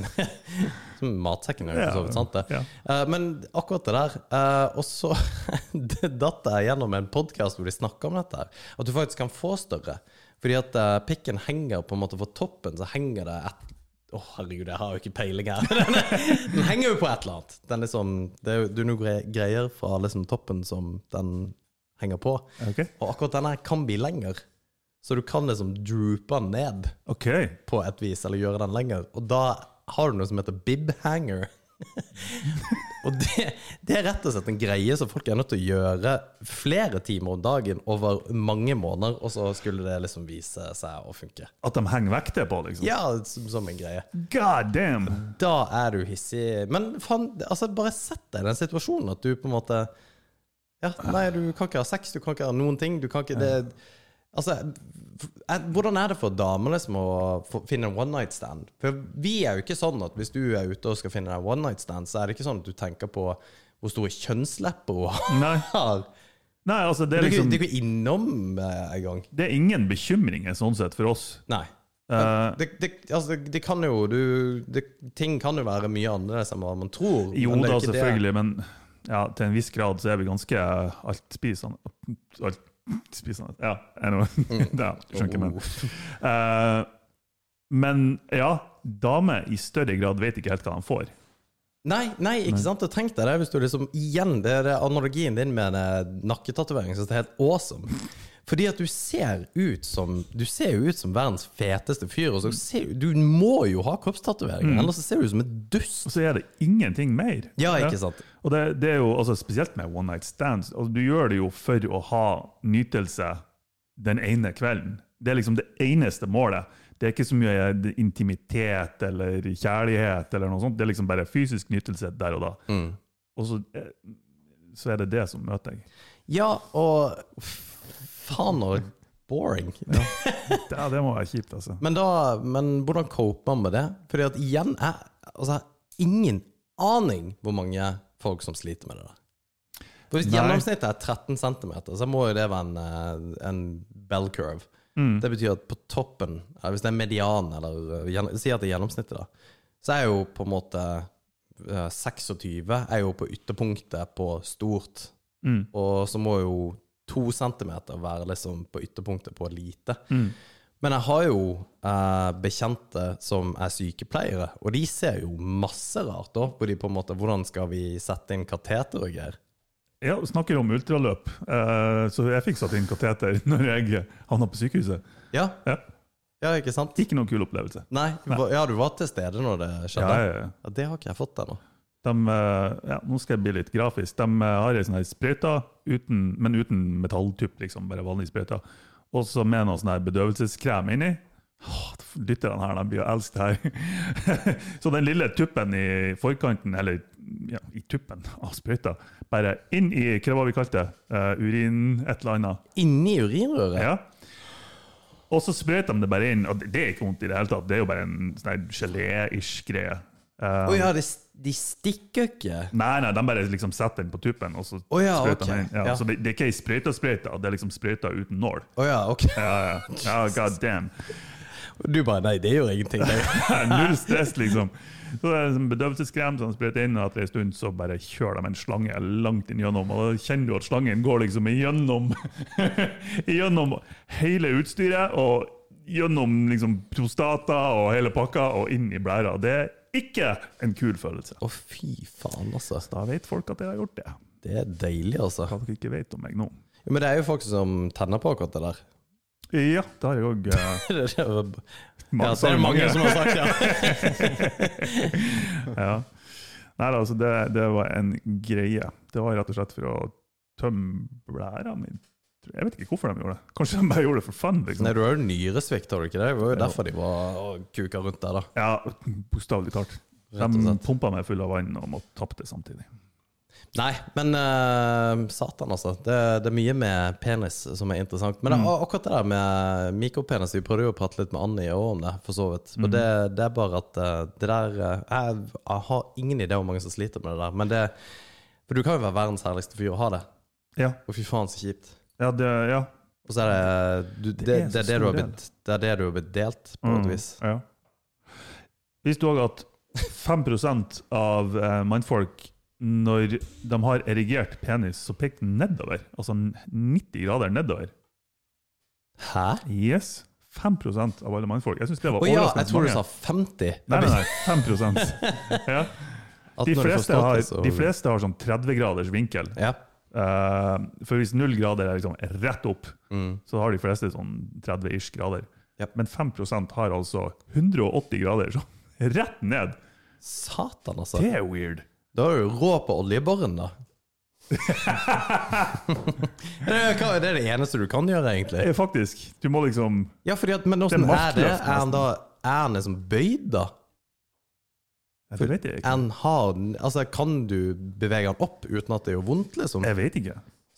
<laughs> Som matsekken er jo for så vidt sant, det.
Ja.
Eh, men akkurat det der eh, Og så <laughs> det datt jeg gjennom en podkast hvor de snakka om dette. her At du faktisk kan få større. Fordi at eh, pikken henger på en måte for toppen, så henger det et Å, herregud, jeg har jo ikke peiling her. <laughs> Den, den henger jo på et eller annet. Den liksom, det er jo det er noen gre- greier fra liksom toppen som den henger på.
Ok,
Og akkurat denne her kan bli lenger. Så du kan liksom droope den ned
Ok.
på et vis, eller gjøre den lenger. Og da har du noe som heter bib hanger. <laughs> og det, det er rett og slett en greie som folk er nødt til å gjøre flere timer om dagen over mange måneder, og så skulle det liksom vise seg å funke.
at de henger vekter på, liksom.
Ja, som, som en greie.
God damn!
Da er du hissig. Men faen, altså, bare sett deg i den situasjonen at du på en måte Ja, nei, du kan ikke ha sex, du kan ikke ha noen ting, du kan ikke det Altså, eh, hvordan er det for damer liksom å få- finne en one night stand? For vi er jo ikke sånn at hvis du er ute og skal finne en one night stand, så er det ikke sånn at du tenker på hvor store kjønnslepper <laughs> hun
Nei.
har.
Nei, altså, det
Du
er
er
liksom
ikke- du er ikke innom eh, en gang.
Det er ingen bekymringer sånn sett for oss.
Nei.
Eh,
Det, det, altså, det, det kan jo du, det, Ting kan jo være mye annerledes enn hva man tror.
jo
men det er
da,
ikke det-
selvfølgelig, men ja, til en viss grad så er vi ganske eh, altspisende. Altspisende Ja, anyway.
Mm.
<laughs> ja, skjønner ikke, men.
Oh.
Eh, men ja, damer i større grad vet ikke helt hva de får.
Nei, nei, ikke sant? Og tenk deg det hvis du liksom Igjen, det er det analogien din med en nakketatovering som er helt awesome. Fordi at du ser ut som Du ser jo ut som verdens feteste fyr. Og så ser, du må jo ha kroppstatoveringer, ellers så ser du ut som en
Og
dust.
så er det ingenting mer.
Ja, ikke sant?
Og det, det er jo altså, spesielt med one night stands. Altså, du gjør det jo for å ha nytelse den ene kvelden. Det er liksom det eneste målet. Det er ikke så mye intimitet eller kjærlighet, eller noe sånt. det er liksom bare fysisk nytelse der og da.
Mm.
Og så, eh, så er det det som møter deg.
Ja, og f- faen og boring.
Det, det må være kjipt, altså.
Men, da, men hvordan coper man med det? Fordi at igjen, jeg, altså, jeg har ingen aning hvor mange folk som sliter med det der. For hvis
Nei.
gjennomsnittet er 13 cm, så må jo det være en, eh, en bell curve.
Mm.
Det betyr at på toppen, eh, hvis det er median, eller eh, gjen- si at det er gjennomsnittet, da, så er jo på en måte eh, 26 er jo på ytterpunktet på stort,
Mm.
og så må jo 2 cm være liksom på ytterpunktet på lite.
Mm.
Men jeg har jo eh, bekjente som er sykepleiere, og de ser jo masse rart da, hvor de på en måte, hvordan skal vi sette inn kateter og greier?
Ja, vi snakker om ultraløp, eh, så jeg fikk satt inn kateter <laughs> når jeg havna på sykehuset.
Ja,
Ja.
ja ikke sant?
Ikke noen kul opplevelse.
Nei, hva- ja, du var til stede når det
Ja,
skjedde.
ja, ja.
Ja, det har ikke jeg fått ennå.
De, eh, ja, nå skal jeg bli litt grafisk. De eh, har ei sånn her sprøyte, uten- men uten metalltyp, liksom, bare vanlig sprøyte. Og så med noe sånn her bedøvelseskrem inni. Åh, Lytterne her de blir jo elsket her. <laughs> så den lille tuppen i forkanten, eller ja, i tuppen av sprøyta, bare inn i hva var vi kalte det? Eh, urin, et eller annet.
Inni urinrøret?
Ja. Og så sprøyter de det bare inn, og det- det er ikke vondt i det hele tatt. Det er jo bare en sånn her gelé-ish greie. Eh,
Å ja, de, de stikker ikke.
Nei, nei, de bare liksom setter den på tuppen, og så
Å ja,
sprøyter
ok.
den inn. Ja,
Ja.
Så det, det er ikke ei sprøyte-sprøyte, det er liksom sprøyta uten nål.
Å ja, ok.
Ja, ja. ja, god damn.
<laughs>
<laughs>
Du bare nei, det gjør ingenting. Det.
Null stress, liksom. Så det er sånn bedøvelseskrem som sprøyter inn, og etter ei stund så bare kjører de en slange langt inn gjennom, og da kjenner du at slangen går liksom igjennom, <laughs> igjennom hele utstyret, og gjennom liksom prostata og hele pakka, og inn i blæra. Det er ikke en kul følelse.
Å fy faen, altså.
Da vet folk at jeg har gjort det.
Det er deilig, altså.
Hva dere ikke vet om meg nå.
Jo, men det er jo folk som tenner på akkurat det der. <laughs>
Ja, da har jeg òg
Det er jo-
Mange
Ja, så er det mange
mange.
som har sagt ja.
<laughs>
<laughs>
ja. Nei, da, altså det, det var en greie. Det var rett og slett for å tømme blæra mi. tror jeg. Jeg vet ikke hvorfor de gjorde det. Kanskje de bare gjorde det for fun? liksom.
Nei, du har jo nyresvikt, har du ikke det? Det var jo derfor de var og kuka rundt der, da.
Ja, Bokstavelig talt.
Rett og
De
slett.
pumpa meg full av vann og måtte tappe det samtidig.
Nei, men eh, satan, altså. Det, det er mye med penis som er interessant. Men det, er akkurat det der med mikropenis Vi prøvde jo å prate litt med Annie også om det, for så vidt. Og det, det er bare at eh, det der eh, jeg, jeg har ingen idé om hvor mange som sliter med det der. Men det For du kan jo være verdens herligste fyr og ha det.
Ja,
Og fy faen, så kjipt.
ja, det, ja.
Og så er det du, det, det,
er så
er det, du
stor
har
del.
blitt, det er det du har blitt delt, på et vis.
Mm, Ja. Visste du òg at 5 av eh, mannfolk, når de har erigert penis, så peker den nedover? Altså 90 grader nedover.
Hæ?
Yes. 5 av alle mannfolk. Jeg synes det var
Å ja,
overraskende
jeg tror du
mange.
sa 50.
Nei, nei,
<laughs>
nei 5 ja.
At når du får
de,
altså.
fleste
stått
har,
det, så-
de fleste har sånn 30 graders vinkel.
Ja.
Eh, for hvis null grader er liksom rett opp,
Mm.
så har de fleste sånn 30-ish grader.
Ja.
Men 5 har altså 180 grader, så rett ned.
Satan, altså.
Det er weird.
Da er du jo rå på oljeborren,
<laughs>
da. det, er, hva- det er det eneste du kan gjøre, egentlig.
Eh, Faktisk. Du må liksom
Ja, fordi at, Men
Det
åssen
er
er det?
maktløst,
Er han da er han liksom bøyd, da?
Jeg vet ikke.
Er han hard? Altså, Kan du bevege han opp uten at det gjør vondt, liksom?
Jeg vet ikke.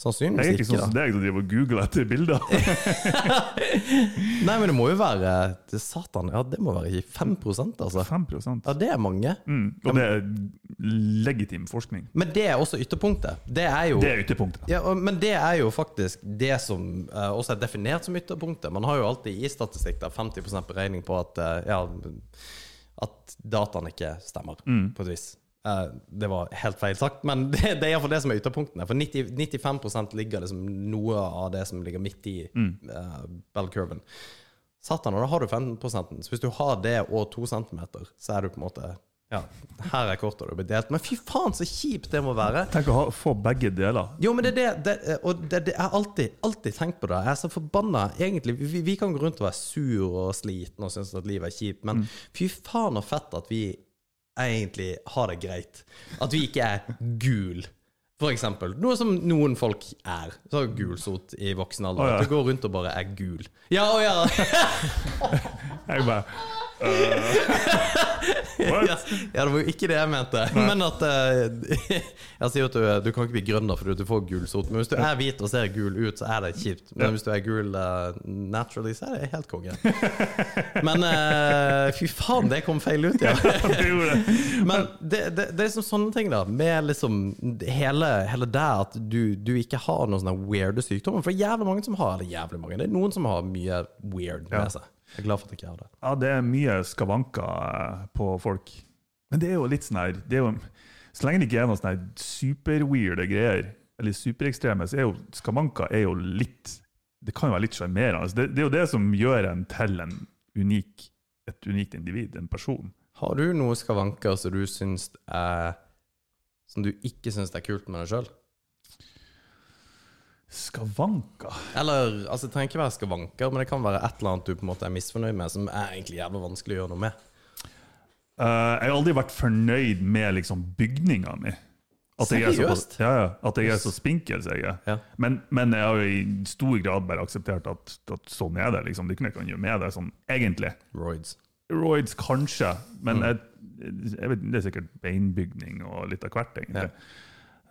Jeg er
Sannsynligvis
ikke sånn
ikke.
som
da.
deg som driver og googler etter bilder.
Nei, men det må jo være til Satan, ja, det må være i 5 altså.
5
Ja, det er mange.
mm. Og det er legitim forskning.
Men det er også ytterpunktet. Det er jo
Det er ytterpunktet.
Ja, og- Men det er jo faktisk det som eh, også er definert som ytterpunktet. Man har jo alltid i statistikk der 50 beregning på at, eh, ja, at dataen ikke stemmer, på et vis. Eh, det var helt feil sagt, men <laughs> det, det er iallfall det som er ytterpunktene. For 90, 95 ligger liksom noe av det som ligger midt i eh, bell curven. Satan, og da har du 15 Så hvis du har det og 2 cm, så er du på en måte ja, her er kortet du har blitt delt. Men fy faen, så kjipt det må være!
Tenk å ha, få begge deler.
Jo, men det er det, det Og det, det jeg har alltid, alltid tenkt på det. Jeg er så forbanna, egentlig. Vi, vi kan gå rundt og være sur og sliten og synes at livet er kjipt, men
Mm.
fy faen og fett at vi egentlig har det greit. At vi ikke er gul. For eksempel. Noe som noen folk er. Så har gulsot i voksen alder.
Å, ja.
At du går rundt og bare er gul. Ja, å ja!
Jeg bare øh,
Ja,
What?
ja, det var jo ikke det jeg mente. Men at eh, <laughs> Jeg sier at du, du kan ikke bli grønner fordi du får gulsot, men hvis du er hvit og ser gul ut, så er det kjipt. Men
Ja.
hvis du er gul eh, naturally, så er det helt
<laughs>
konge. Men eh, fy faen, det kom feil ut,
<laughs>
ja.
Du gjorde det.
Men det, det, det er liksom sånne ting, da. Med liksom hele, hele det at du, du ikke har noen sånne weirde sykdommer. For det er jævlig mange som har Eller jævlig mange, det er noen som har mye weird
Ja.
med seg. Jeg er glad for at jeg ikke har det.
Ja, det er mye skavanker eh, på folk. Men det er jo litt sånn her det er jo, Så lenge det ikke er noen sånne her superweirde greier, eller superekstreme, så er jo skavanker er jo litt Det kan jo være litt sjarmerende. Altså, det, det er jo det som gjør en til en unik, et unikt individ, en person.
Har du noen skavanker som du syns er Som du ikke syns er kult med deg sjøl?
Skavanker
Eller altså, det trenger ikke være skavanker, men det kan være et eller annet du på en måte er misfornøyd med, som er egentlig jævlig vanskelig å gjøre noe med.
Eh, Jeg har aldri vært fornøyd med liksom bygninga mi. At jeg, er så,
Seriøst?
ja, ja, at jeg er så spinkel som jeg er.
Ja.
Men, men jeg har jo i stor grad bare akseptert at, at sånn er det. liksom. Det er ikke noe jeg kan gjøre med det, sånn egentlig.
Roids.
Roids kanskje, men
Mm.
jeg, jeg vet, det er sikkert beinbygning og litt av hvert, egentlig.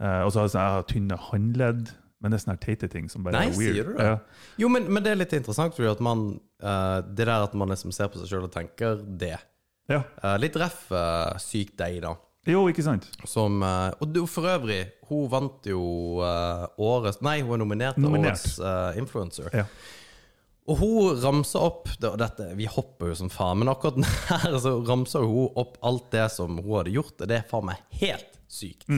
Eh, og så har jeg, sånn, jeg har tynne håndledd, men det er sånne her teite ting som bare
Nei,
er weird.
sier du det? Jo, men, men det er litt interessant, fordi at man eh, Det der at man liksom ser på seg sjøl og tenker det.
Ja. ja.
Eh, litt ref eh, syk deg, da.
Jo, ikke sant?
Som eh, Og du, for øvrig, hun vant jo eh, årets Nei, hun er nominert til
Nominert.
årets eh, influencer.
Ja.
Og hun ramser opp det, og dette, Vi hopper jo som faen, men akkurat den her så ramser jo hun opp alt det som hun hadde gjort, og det er faen meg helt sykt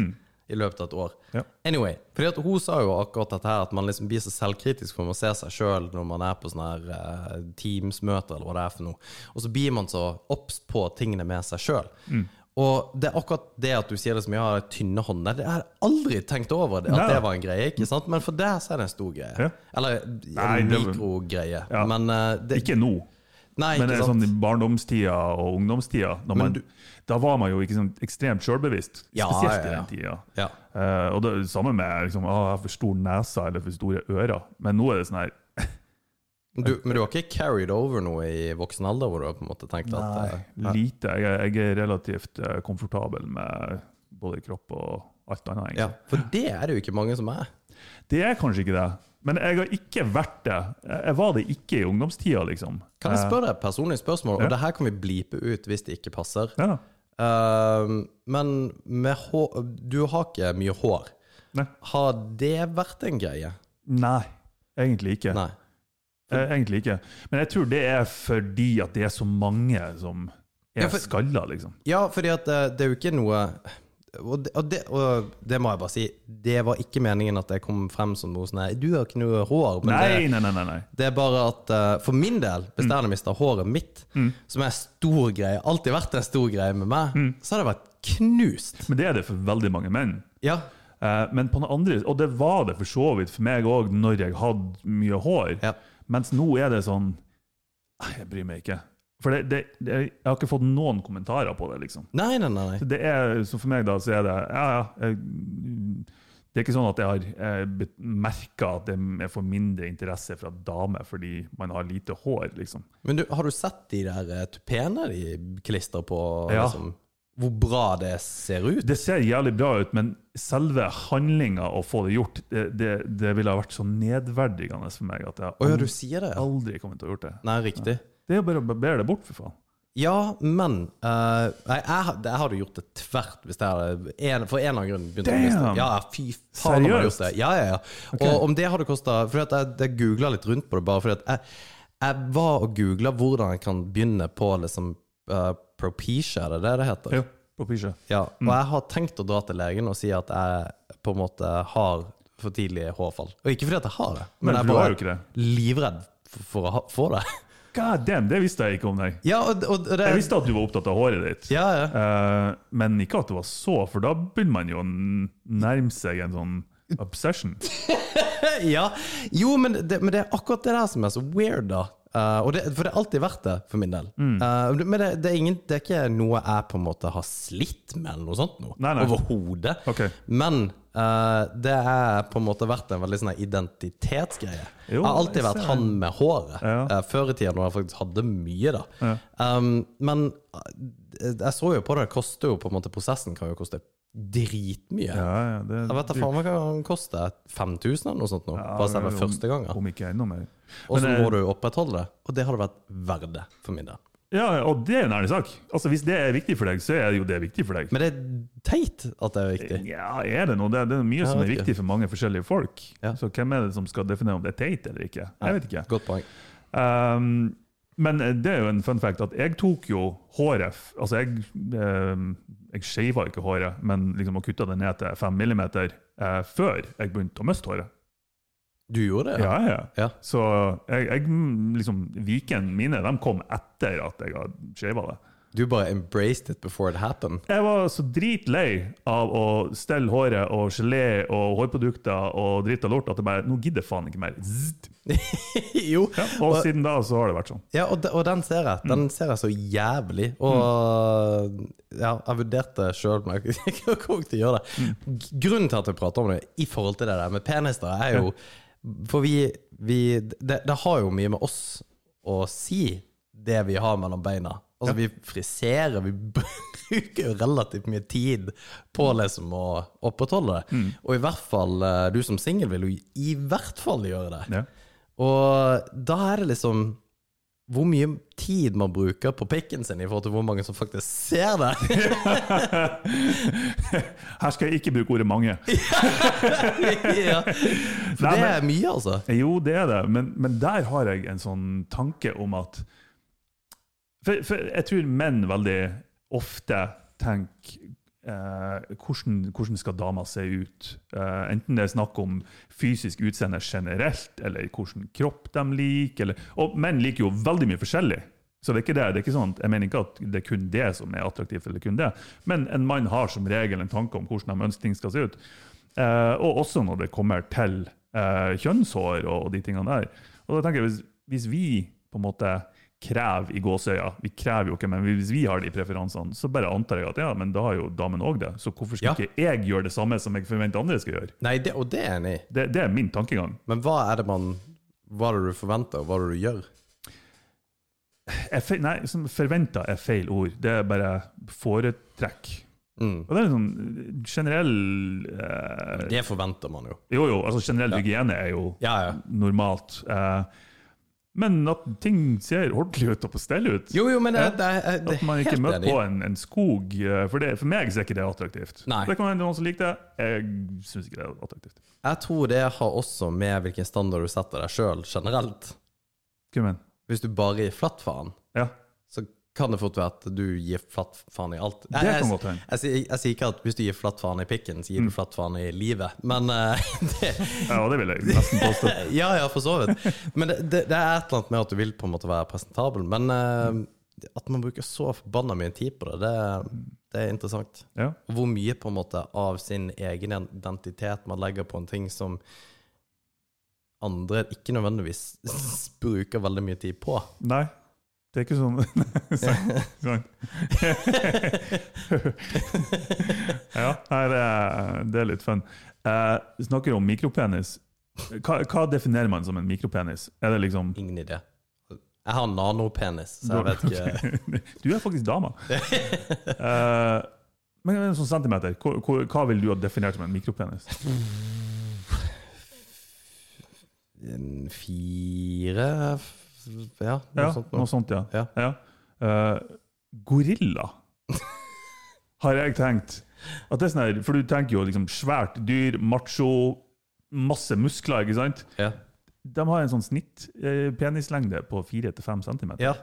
i løpet av et år.
Mm. Ja.
Anyway, fordi at hun sa jo akkurat dette her, at man liksom blir så selvkritisk for man ser seg sjøl når man er på sånne her eh, Teams-møter eller hva det er for noe, og så blir man så obs på tingene med seg sjøl.
Mm.
Og det er akkurat det at du sier det som jeg har tynne hånder, det har jeg aldri tenkt over det, at
Nei.
det var en greie, ikke sant? Men for deg så er det en stor greie.
Ja.
Eller
Nei,
en
det-
mikrogreie.
Ja.
Men eh, det,
Ikke nå.
Nei,
Men det
ikke
er sånn
sant?
i barndomstida og ungdomstida. Når man, da var man jo ikke sånn ekstremt sjølbevisst,
Ja,
spesielt
ja, ja.
i den tida.
Ja.
Eh, og det er det samme med liksom, å, jeg har for stor nese eller for store ører. Men nå er det sånn her
Du, men du har ikke carried over noe i voksen alder hvor du har på en måte tenkt at eh,
Nei, lite. Jeg, er- jeg er relativt eh, komfortabel med både kropp og alt annet.
Ja,
egentlig.
For det er det jo ikke mange som er.
Det er kanskje ikke det. Men jeg har ikke vært det. Jeg jeg var det ikke i ungdomstida, liksom.
Kan jeg
Eh,
spørre deg et personlig spørsmål, og det her kan vi blipe ut hvis det ikke passer.
Ja.
Ehm, men med hår, du har ikke mye hår.
Nei.
Har det vært en greie?
Nei, egentlig ikke.
Nei.
Eh, Egentlig ikke. Men jeg tror det er fordi at det er så mange som
Ja,
er
for-
skalla, liksom.
Ja, fordi at eh, det, det er jo ikke noe og det, og, det, og det må jeg bare si, det var ikke meningen at jeg kom frem som noe sånn her Du har ikke noe hår, men det,
Nei, nei, nei. nei, nei.
Det er bare at eh, for min del,
Mm.
hvis jeg hadde mista håret mitt, som er en stor greie, alltid vært en stor greie med meg,
Mm.
så hadde jeg vært knust.
Men det er det for veldig mange menn.
Ja.
Eh, Men på den andre, og det var det for så vidt for meg òg når jeg hadde mye hår.
Ja.
Mens nå er det sånn Nei, jeg bryr meg ikke. For det, det, det, jeg har ikke fått noen kommentarer på det. liksom.
Nei, nei, nei. nei.
Så det er, så For meg da, så er det ja, ja. Jeg, det er ikke sånn at jeg har merka at det er for mindre interesse fra damer fordi man har lite hår. liksom.
Men du, har du sett de der eh, tupeene de klistrer på?
Ja.
Liksom, hvor bra det ser ut?
Det ser jævlig bra ut, men selve handlinga å få det gjort, det, det, det ville ha vært så nedverdigende for meg at jeg
Å ja, du sier det? ja.
aldri kommer til å ha gjort det.
Nei, riktig.
Det er jo bare å barbere det bort, for faen.
Ja, men eh, nei, jeg, had- jeg hadde gjort det tvert hvis jeg hadde en, For en eller annen grunn begynt å
Damn!
miste det. Ja, fy faen om jeg hadde gjort
Seriøst?
det. Ja, ja, ja. Og om det hadde kosta For at jeg, jeg googla litt rundt på det, bare fordi at jeg, jeg var og googla hvordan jeg kan begynne på liksom uh, propecia, er det det det heter?
Jo, Mm. på pysje.
Ja, og jeg har tenkt å dra til legen og si at jeg på en måte har for tidlig hårfall. Og ikke fordi at jeg har det, men,
Men
jeg
for du
bare
har jo ikke det.
livredd for, for å ha- få det. <laughs>
God damn, det visste jeg ikke om deg.
Ja, og, og, og det
Jeg visste at du var opptatt av håret ditt,
Ja, ja.
Eh, men ikke at det var så, for da begynner man jo å nærme seg en sånn
<laughs>
obsession.
ja. Jo, men det, men det er akkurat det der som er så weird, da. Eh, og det, for det har alltid vært det, for min del.
Mm.
Eh, men det, det, er ingen, det er ikke noe jeg på en måte har slitt med, eller noe sånt. Noe,
Nei, nei.
Overhodet.
Ok.
Men eh, det er på en måte vært en veldig sånn her identitetsgreie.
Jo,
jeg har alltid
jeg
vært
ser
han med håret.
Ja.
eh, før i tida, når jeg faktisk hadde mye, da. Um, men eh, jeg så jo på det, det koster jo på en måte prosessen kan jo koste dritmye.
Ja, ja, det,
Jeg vet da faen hva den koster. 5000 eller noe sånt nå?
Ja,
bare selve
om-
første gangen.
Om ikke enda mer.
Og så
Men, eh,
må du opprettholde det. Og det hadde vært verdt det, for min del.
Ja, og det er en ærlig sak. Altså, Hvis det er viktig for deg, så er jo det viktig for deg.
Men det er teit at det er viktig.
Ja, er det noe? Det er, det er mye som
vet
er
ikke.
viktig for mange forskjellige folk.
Ja.
Så hvem er det som skal definere om det er teit eller ikke? Jeg vet ikke.
Godt poeng.
Um, men det er jo en fun fact at jeg tok jo håret f- Altså, jeg, um, jeg shava ikke håret, men liksom og kutta det ned til fem millimeter eh, før jeg begynte å miste håret.
Du gjorde det?
Ja, ja.
Ja.
Så jeg, jeg mm, liksom, vikene mine de kom etter at jeg hadde shava det.
Du bare embraced it before it
<laughs>
happened.
Jeg var så dritlei av å stelle håret og gelé og hårprodukter og dritt og lort at jeg bare Nå gidder jeg faen ikke mer. Zzzt.
jo.
Ja, og siden da så har det vært sånn.
Ja, og, de, og den ser jeg. Den ser jeg så jævlig. Og ja, jeg vurderte sjøl, men jeg <laughs> kunne ikke gjøre det. Grunnen til at jeg prater om det i forhold til det der med penis, da, er jo For vi, vi det, det har jo mye med oss å si, det vi har mellom beina. Altså, vi friserer, vi <laughs> bruker jo relativt mye tid på liksom å opprettholde det. Og i hvert fall eh, du som singel vil jo i hvert fall gjøre det.
Ja.
Og da er det liksom hvor mye tid man bruker på pikken sin i forhold til hvor mange som faktisk ser det. <laughs>
Her skal jeg ikke bruke ordet mange.
ja. For
Nei,
det
men-
er mye, altså.
Jo, det er det, men, men der har jeg en sånn tanke om at For, for jeg tror menn veldig ofte tenker eh, hvordan, hvordan skal dama se ut? Eh, enten det er snakk om fysisk utseende generelt, eller hvilken kropp de liker. Eller, og menn liker jo veldig mye forskjellig. Så det er ikke det, det er ikke sånn, at- Jeg mener ikke at det er kun det som er attraktivt, eller kun det. men en mann har som regel en tanke om hvordan de ønsker ting skal se ut. Eh, og også når det kommer til eh, kjønnshår og, og de tingene der. Og da tenker jeg, hvis, hvis vi på en måte krever i gåsøya, vi krever jo ikke, men hvis vi har de preferansene, så bare antar jeg at ja, men da har jo damen òg det. Så hvorfor skal
Ja.
ikke jeg gjøre det samme som jeg forventer andre skal gjøre?
Nei, det, og det er jeg enig i.
Det, det er min tankegang.
Men hva er det man Hva er det du forventer, og hva er det du gjør?
Jeg fe- nei, som forventa er feil ord. Det er bare foretrekk.
Mm.
Og det er en sånn generell eh,
Det forventer man jo.
Jo, jo, altså generell hygiene er jo
Ja, ja.
normalt. Eh, men at ting ser ordentlig ut og på stell ut.
Jo, jo, men det, det, det, det
at man ikke
helt
møter
enig.
på en, en skog. eh, For, det, for meg ser ikke det attraktivt.
Nei.
Det kan hende noen som liker det. Jeg syns ikke det er attraktivt.
Jeg tror det har også med hvilken standard du setter deg sjøl generelt.
Hva mener du?
Hvis du bare gir flatt faen,
Ja.
så kan det fort være at du gir flatt faen i alt.
Det
Jeg-
kan
jeg-
godt hende.
Jeg sier- jeg sier ikke at hvis du gir flatt faen i pikken, så gir du flatt faen i livet, men eh, <laughs> det,
ja, det vil jeg nesten
<laughs>
påstå.
Ja, ja, for så vidt. Men det, det, det er et eller annet med at du vil på en måte være presentabel. Men eh, at man bruker så forbanna mye tid på det, det, det er interessant.
Ja.
Og Hvor mye på en måte av sin egen identitet man legger på en ting som andre ikke nødvendigvis bruker veldig mye tid på.
Nei. Det er ikke sånn <laughs> Sant. sant. ja, nei, det er, det er litt fun. Eh, vi snakker om mikropenis. Hva, hva definerer man som en mikropenis? Er det liksom
Ingen idé. Jeg har nanopenis, så jeg vet ikke
<laughs> Du er faktisk
<laughs>
dama. Eh, men en sånn centimeter, hvor, hvor, hva vil du ha definert som en mikropenis?
en Fire f- Ja, noe
Ja,
sånt.
noe
Noe.
sånt, ja.
Ja.
Eh, gorilla, har jeg tenkt. At det er sånn her, for du tenker jo liksom svært dyr, macho, masse muskler, ikke sant?
Ja.
De har en sånn snitt eh, penislengde på 4-5 centimeter.
ja.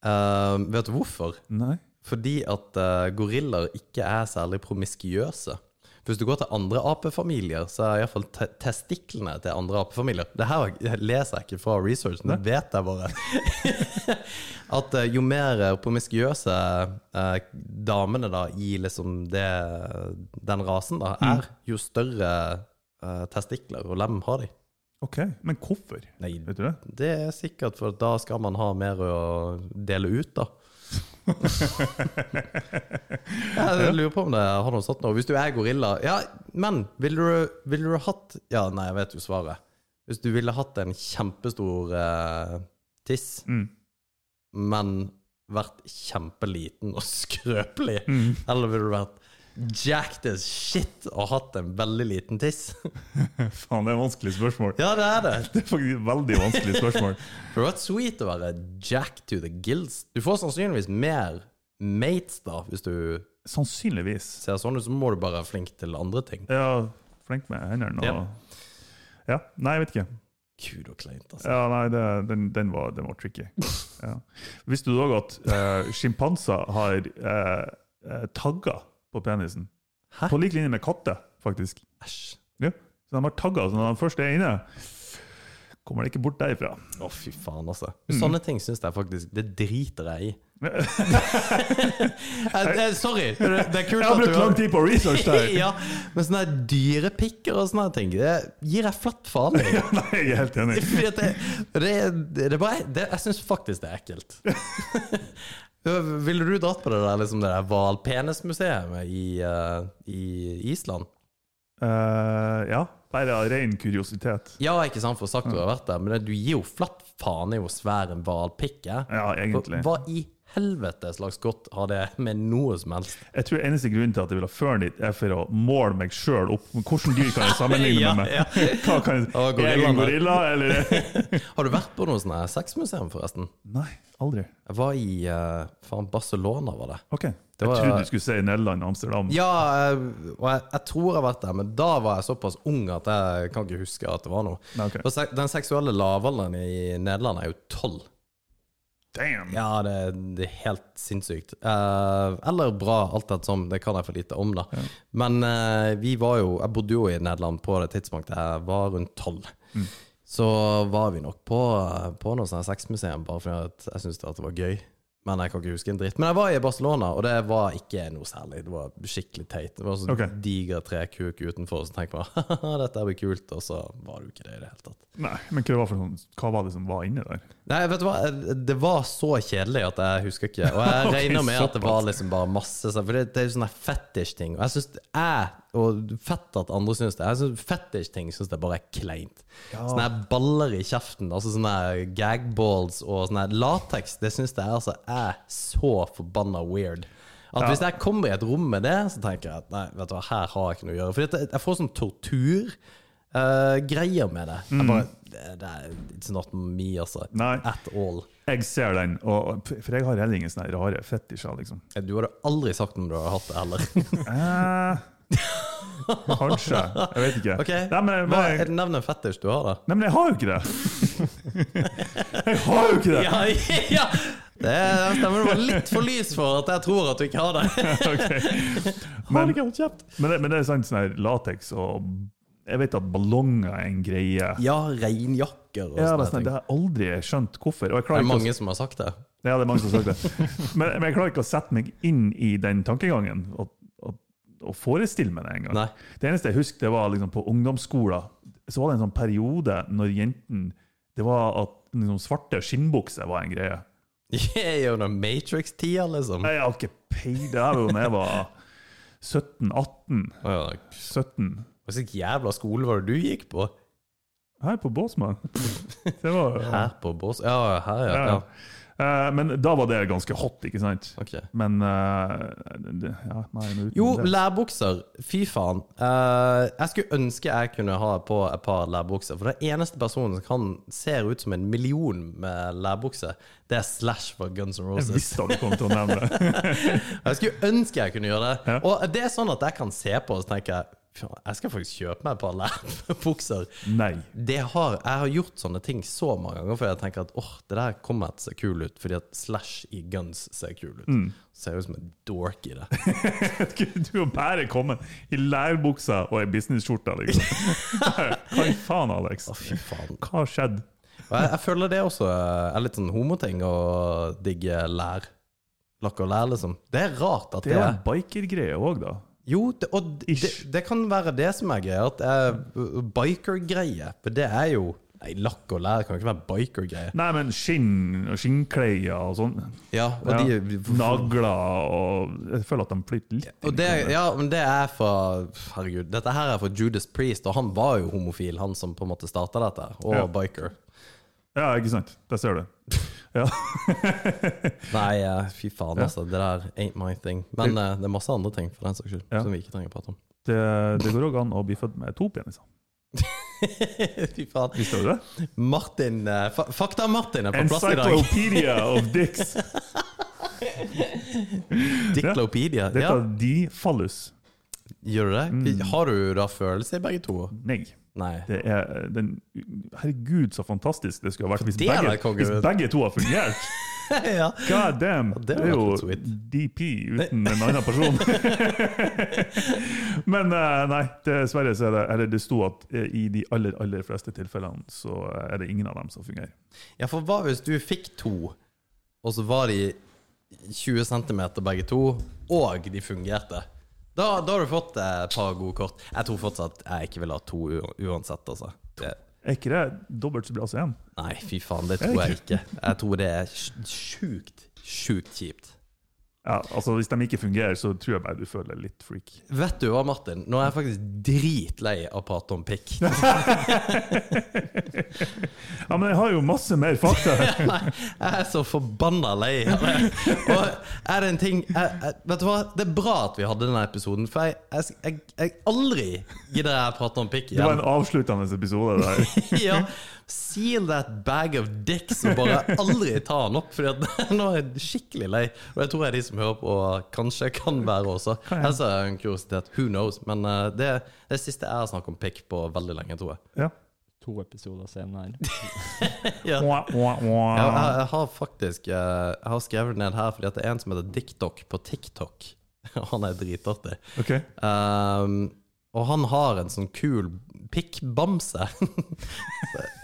Eh, vet du hvorfor?
Nei?
Fordi at eh, gorillaer ikke er særlig promiskuøse. Hvis du går til andre apefamilier, så er iallfall te testiklene til andre apefamilier Det her leser jeg ikke fra researchen, det vet jeg bare. at eh, jo mer eh, promiskuøse eh, damene da i liksom det, den rasen da er, jo større eh, testikler og lem har de.
Ok, men hvorfor?
Nei,
Vet du det?
<laughs> det er sikkert for at da skal man ha mer å dele ut, da. Jeg lurer på om det har noe sånt nå. Hvis du er gorilla Ja, men ville du, ville du hatt Ja, nei, jeg vet jo svaret. Hvis du ville hatt en kjempestor eh, tiss,
Mm.
men vært kjempeliten og <laughs> skrøpelig,
Mm.
eller ville du vært jacked as shit og hatt en veldig liten tiss?
Faen, det er vanskelig spørsmål.
Ja, det er det.
Det er faktisk et veldig vanskelig
<laughs>
spørsmål.
Det hadde vært sweet å være jack to the gills. Du får sannsynligvis mer mates, da, hvis du
Sannsynligvis.
ser sånn ut. Så må du bare være flink til andre ting.
Ja, flink med hendene og
Ja.
Ja. Nei, jeg vet ikke.
Gud og kleint, altså.
Ja, nei, det, den, den, var, den var
<laughs>
tricky. Ja. Visste du òg at uh, sjimpanser har eh, eh, tagger på penisen?
Hæ?
På lik linje med katter, faktisk.
Æsj.
Ja. Så de har tagger, så når de først er inne, kommer de ikke bort derifra.
Å, fy faen, altså. Sånne ting syns jeg faktisk Det driter <laughs> jeg i. jeg, jeg, sorry. Det det er kult
Jeg
at
har
du
brukt lang tid på research
<laughs>
der!
ja, men sånne her dyrepikker og sånne her ting, det gir jeg flatt faen i.
Nei, jeg er helt
<laughs>
enig.
Fordi at det, det, det er bare det, Jeg syns faktisk det er ekkelt. Ville du dratt på det der liksom det der hvalpenismuseet i, eh, i Island?
Eh, ja, bare av ren kuriositet.
Ja, ikke sant, for sagt du har vært der, men du gir jo flatt faen i hvor svær en hvalpikk er.
Ja, egentlig.
Hva i helvete slags godt har det med noe som helst?
Jeg tror eneste grunnen til at jeg vil ha føren dit, er for å måle meg sjøl opp. Hvilke dyr
<laughs>
kan jeg sammenligne
Ja,
meg med?
ja.
<laughs> Hva kan jeg,
Og
er jeg en
gorillaene.
gorilla, eller? <laughs>
Har du vært på noe sånn her sexmuseum, forresten?
Nei, aldri.
Jeg var i eh, faen Barcelona, var det.
Ok.
Det var-
Jeg trodde du skulle si Nederland og Amsterdam.
Ja, eh, og jeg, jeg tror jeg har vært der, men da var jeg såpass ung at jeg kan ikke huske at det var noe.
Nei, ok.
Og se- Den seksuelle lavalderen i Nederland er jo tolv.
Damn!
Ja, det, det er helt sinnssykt. Eh, eller bra, alt etter som. Det kan jeg for lite om, da. Men eh, vi var jo Jeg bodde jo i Nederland på det tidspunktet jeg var rundt tolv. Så var vi nok på, på noe sånt her sexmuseum bare fordi at jeg syntes at det var gøy. Men jeg kan ikke huske en dritt. Men jeg var i Barcelona, og det var ikke noe særlig. Det var skikkelig teit. Det var sånn
Ok.
diger trekuk utenfor, og så tenker man <laughs> haha, dette her blir kult, og så var det jo ikke det i det hele tatt.
Nei, men hva var, for noen, hva var det som var inne der?
Nei, vet du hva? Det var så kjedelig at jeg husker ikke. Og jeg
Ok,
regner med at det var
såpass.
liksom bare masse sånn, For det, det er jo sånne fetish-ting. Og jeg synes jeg, og fett at andre syns det, jeg synes fetish-ting syns jeg bare er kleint. Sånne her baller i kjeften, altså sånne her gagballs og sånne her lateks, det syns jeg altså er så forbanna weird. At Hvis jeg kommer i et rom med det, så tenker jeg at nei, vet du hva, her har jeg ikke noe å gjøre. For dette- jeg får sånn tortur. eh, greier med det. Jeg bare, det, det er, it's not me, altså.
Nei.
At all.
Jeg ser den, og, for jeg har heller ingen sånne rare fetisjer, liksom.
Du hadde aldri sagt om du hadde hatt det heller. <laughs>
Eh, kanskje. Jeg vet ikke.
Ok,
Nei, men, jeg-
Hva, er det Nevn en fetisj du har, da.
nei, men jeg har jo ikke det! <laughs> Jeg har jo ikke det! <laughs>
Ja, ja. Det er- den stemmen var litt for lys for at jeg tror at du ikke har det.
<laughs> Men, men, det, men det er sant, sånn her latex og Jeg vet at ballonger er en greie.
Ja, reinjakker og
Ja, det, er
sånne
sånn, det
ting.
har jeg aldri skjønt hvorfor. Og jeg
Det
klarer
er
ikke å-
mange som har sagt det. <laughs>
Ja, det er mange som har sagt det. Men, men jeg klarer ikke å sette meg inn i den tankegangen og, og, og forestille meg det engang.
Nei.
Det eneste jeg husker, det var liksom på ungdomsskolen. Så var det en sånn periode når jentene Det var at liksom, svarte skinnbukser var en greie.
Jeg er jo noen Matrix-tida, liksom.
Jeg har ikke peiling. Det var jo da jeg var 17-18.
Å, ja.
17.
Hva slags jævla skole var det du gikk på?
Her på Båsmann. Det var
Her på Bås... Ja, her, ja.
Ja.
ja.
Eh, Men da var det ganske hot, ikke sant?
Ok.
Men eh, det- ja, nei, men uten
Jo,
det.
lærbukser. Fy faen. Eh, jeg skulle ønske jeg kunne ha på et par lærbukser. For den eneste personen som kan ser ut som en million med lærbukser, det er Slash fra Guns N'
<laughs> Jeg
Roses.
visste at du kom til å nevne det.
<laughs> Jeg skulle ønske jeg kunne gjøre det. Og det er sånn at jeg kan se på og så tenker jeg, "Faen, jeg skal faktisk kjøpe meg et par lærbukser.
Nei.
Det har, jeg har gjort sånne ting så mange ganger fordi jeg tenker at åh, det der kommer til å se kul ut, fordi at Slash i Guns ser kul ut. Ser ut som en dork i det.
Du har bare kommet i lærbuksa og ei businessskjorte. Liksom.
<laughs>
Hva i faen, Alex?
Å, fy faen.
Hva har skjedd?
Og jeg, jeg føler det også er litt sånn homoting å digge lær. Lakk og lær, liksom. Det er rart at
Det
det,
er jo en bikergreie òg, da.
Jo, det, og det,
Ish.
det kan være det som er greia. At det er biker-greie. eh, For det er jo Nei, lakk og lær kan jo ikke være biker-greier.
Nei, men skinn og skinnkleier og sånn.
Ja, og
Ja.
de
Nagler og Jeg føler at de flyter litt.
og det, ja, men det er fra Herregud, dette her er fra Judas Priest, og han var jo homofil, han som på en måte starta dette, og
Ja.
biker.
Ja, ikke sant? Der ser du. Ja. <laughs>
Nei, eh, fy faen, altså. Det der ain't my thing. Men eh, det er masse andre ting for den saks skyld
Ja.
som vi ikke trenger å prate om.
Det, det går òg an å bli født med to peniser.
<laughs> fy faen.
Visste du det?
Martin eh, fa Fakta-Martin er på plass i <laughs> dag.
Encyclopedia of dicks.
Diclopedia.
Dette
Ja,
er de fallus.
gjør du det? Har du da følelse i begge to?
Nei.
Nei.
Det er den, herregud, så fantastisk det skulle ha vært hvis
det er da
begge,
konge,
hvis
vet du.
begge to har
<laughs>
fungert.
<laughs> ja.
God damn!
det
Det
var
er jo
litt sweet.
DP uten en annen
<laughs>
person. Men eh, nei, dessverre så er det Eller det sto at eh, i de aller, aller fleste tilfellene så er det ingen av dem som fungerer.
ja, for hva hvis du fikk to, og så var de 20 cm begge to, og de fungerte? Da, da har du fått eh, et par gode kort. Jeg tror fortsatt jeg ikke vil ha to u- uansett, altså. Det,
Er ikke det dobbelt så bra som én?
nei, fy faen, det tror jeg ikke. Jeg tror det er sj- sjukt, sjukt kjipt.
Ja, altså Hvis de ikke fungerer, så tror jeg bare du føler litt freak.
Vet du hva, Martin? Nå er jeg faktisk dritlei av å prate om
<laughs>
pikk.
Ja, Men jeg har jo masse mer fakta!
<laughs> Nei, jeg er så forbanna lei av det. Og er det en ting jeg, jeg, Vet du hva, det er bra at vi hadde denne episoden, for jeg, jeg, jeg, jeg aldri gidder jeg å prate om pikk
Det var
igjen.
en avsluttende episode
<laughs>
der.
<laughs> Ja, Seal that bag of dicks og bare aldri ta den opp, for <laughs> nå er jeg skikkelig lei. Og jeg tror jeg er de som hører på, og kanskje kan være også. Ellers er det en kuriositet. Who knows? Men eh, det, det siste jeg har snakket om pikk på veldig lenge, tror jeg.
Ja.
To episoder senere.
Mwah, mwah, mwah.
Jeg, jeg, jeg har faktisk eh, Jeg har skrevet det ned her fordi at det er en som heter DickDock på TikTok. <laughs> Han er dritartig.
Ok.
Um, og han har en sånn kul pikkbamse. <laughs>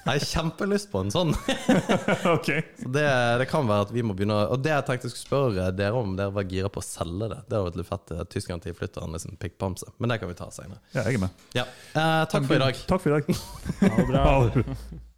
Så jeg har kjempelyst på en sånn.
ok.
Så det, det kan være at vi må begynne å- Og det jeg tenkte jeg skulle spørre dere om, dere var gira på å selge det. Det hadde vært litt fett. eh, Tyskerne tilflytter en liksom pikkbamse. Men det kan vi ta seinere.
Ja, jeg er med.
Ja. Eh, takk for i dag.
Takk for i dag.
Ha det bra.
Ha det.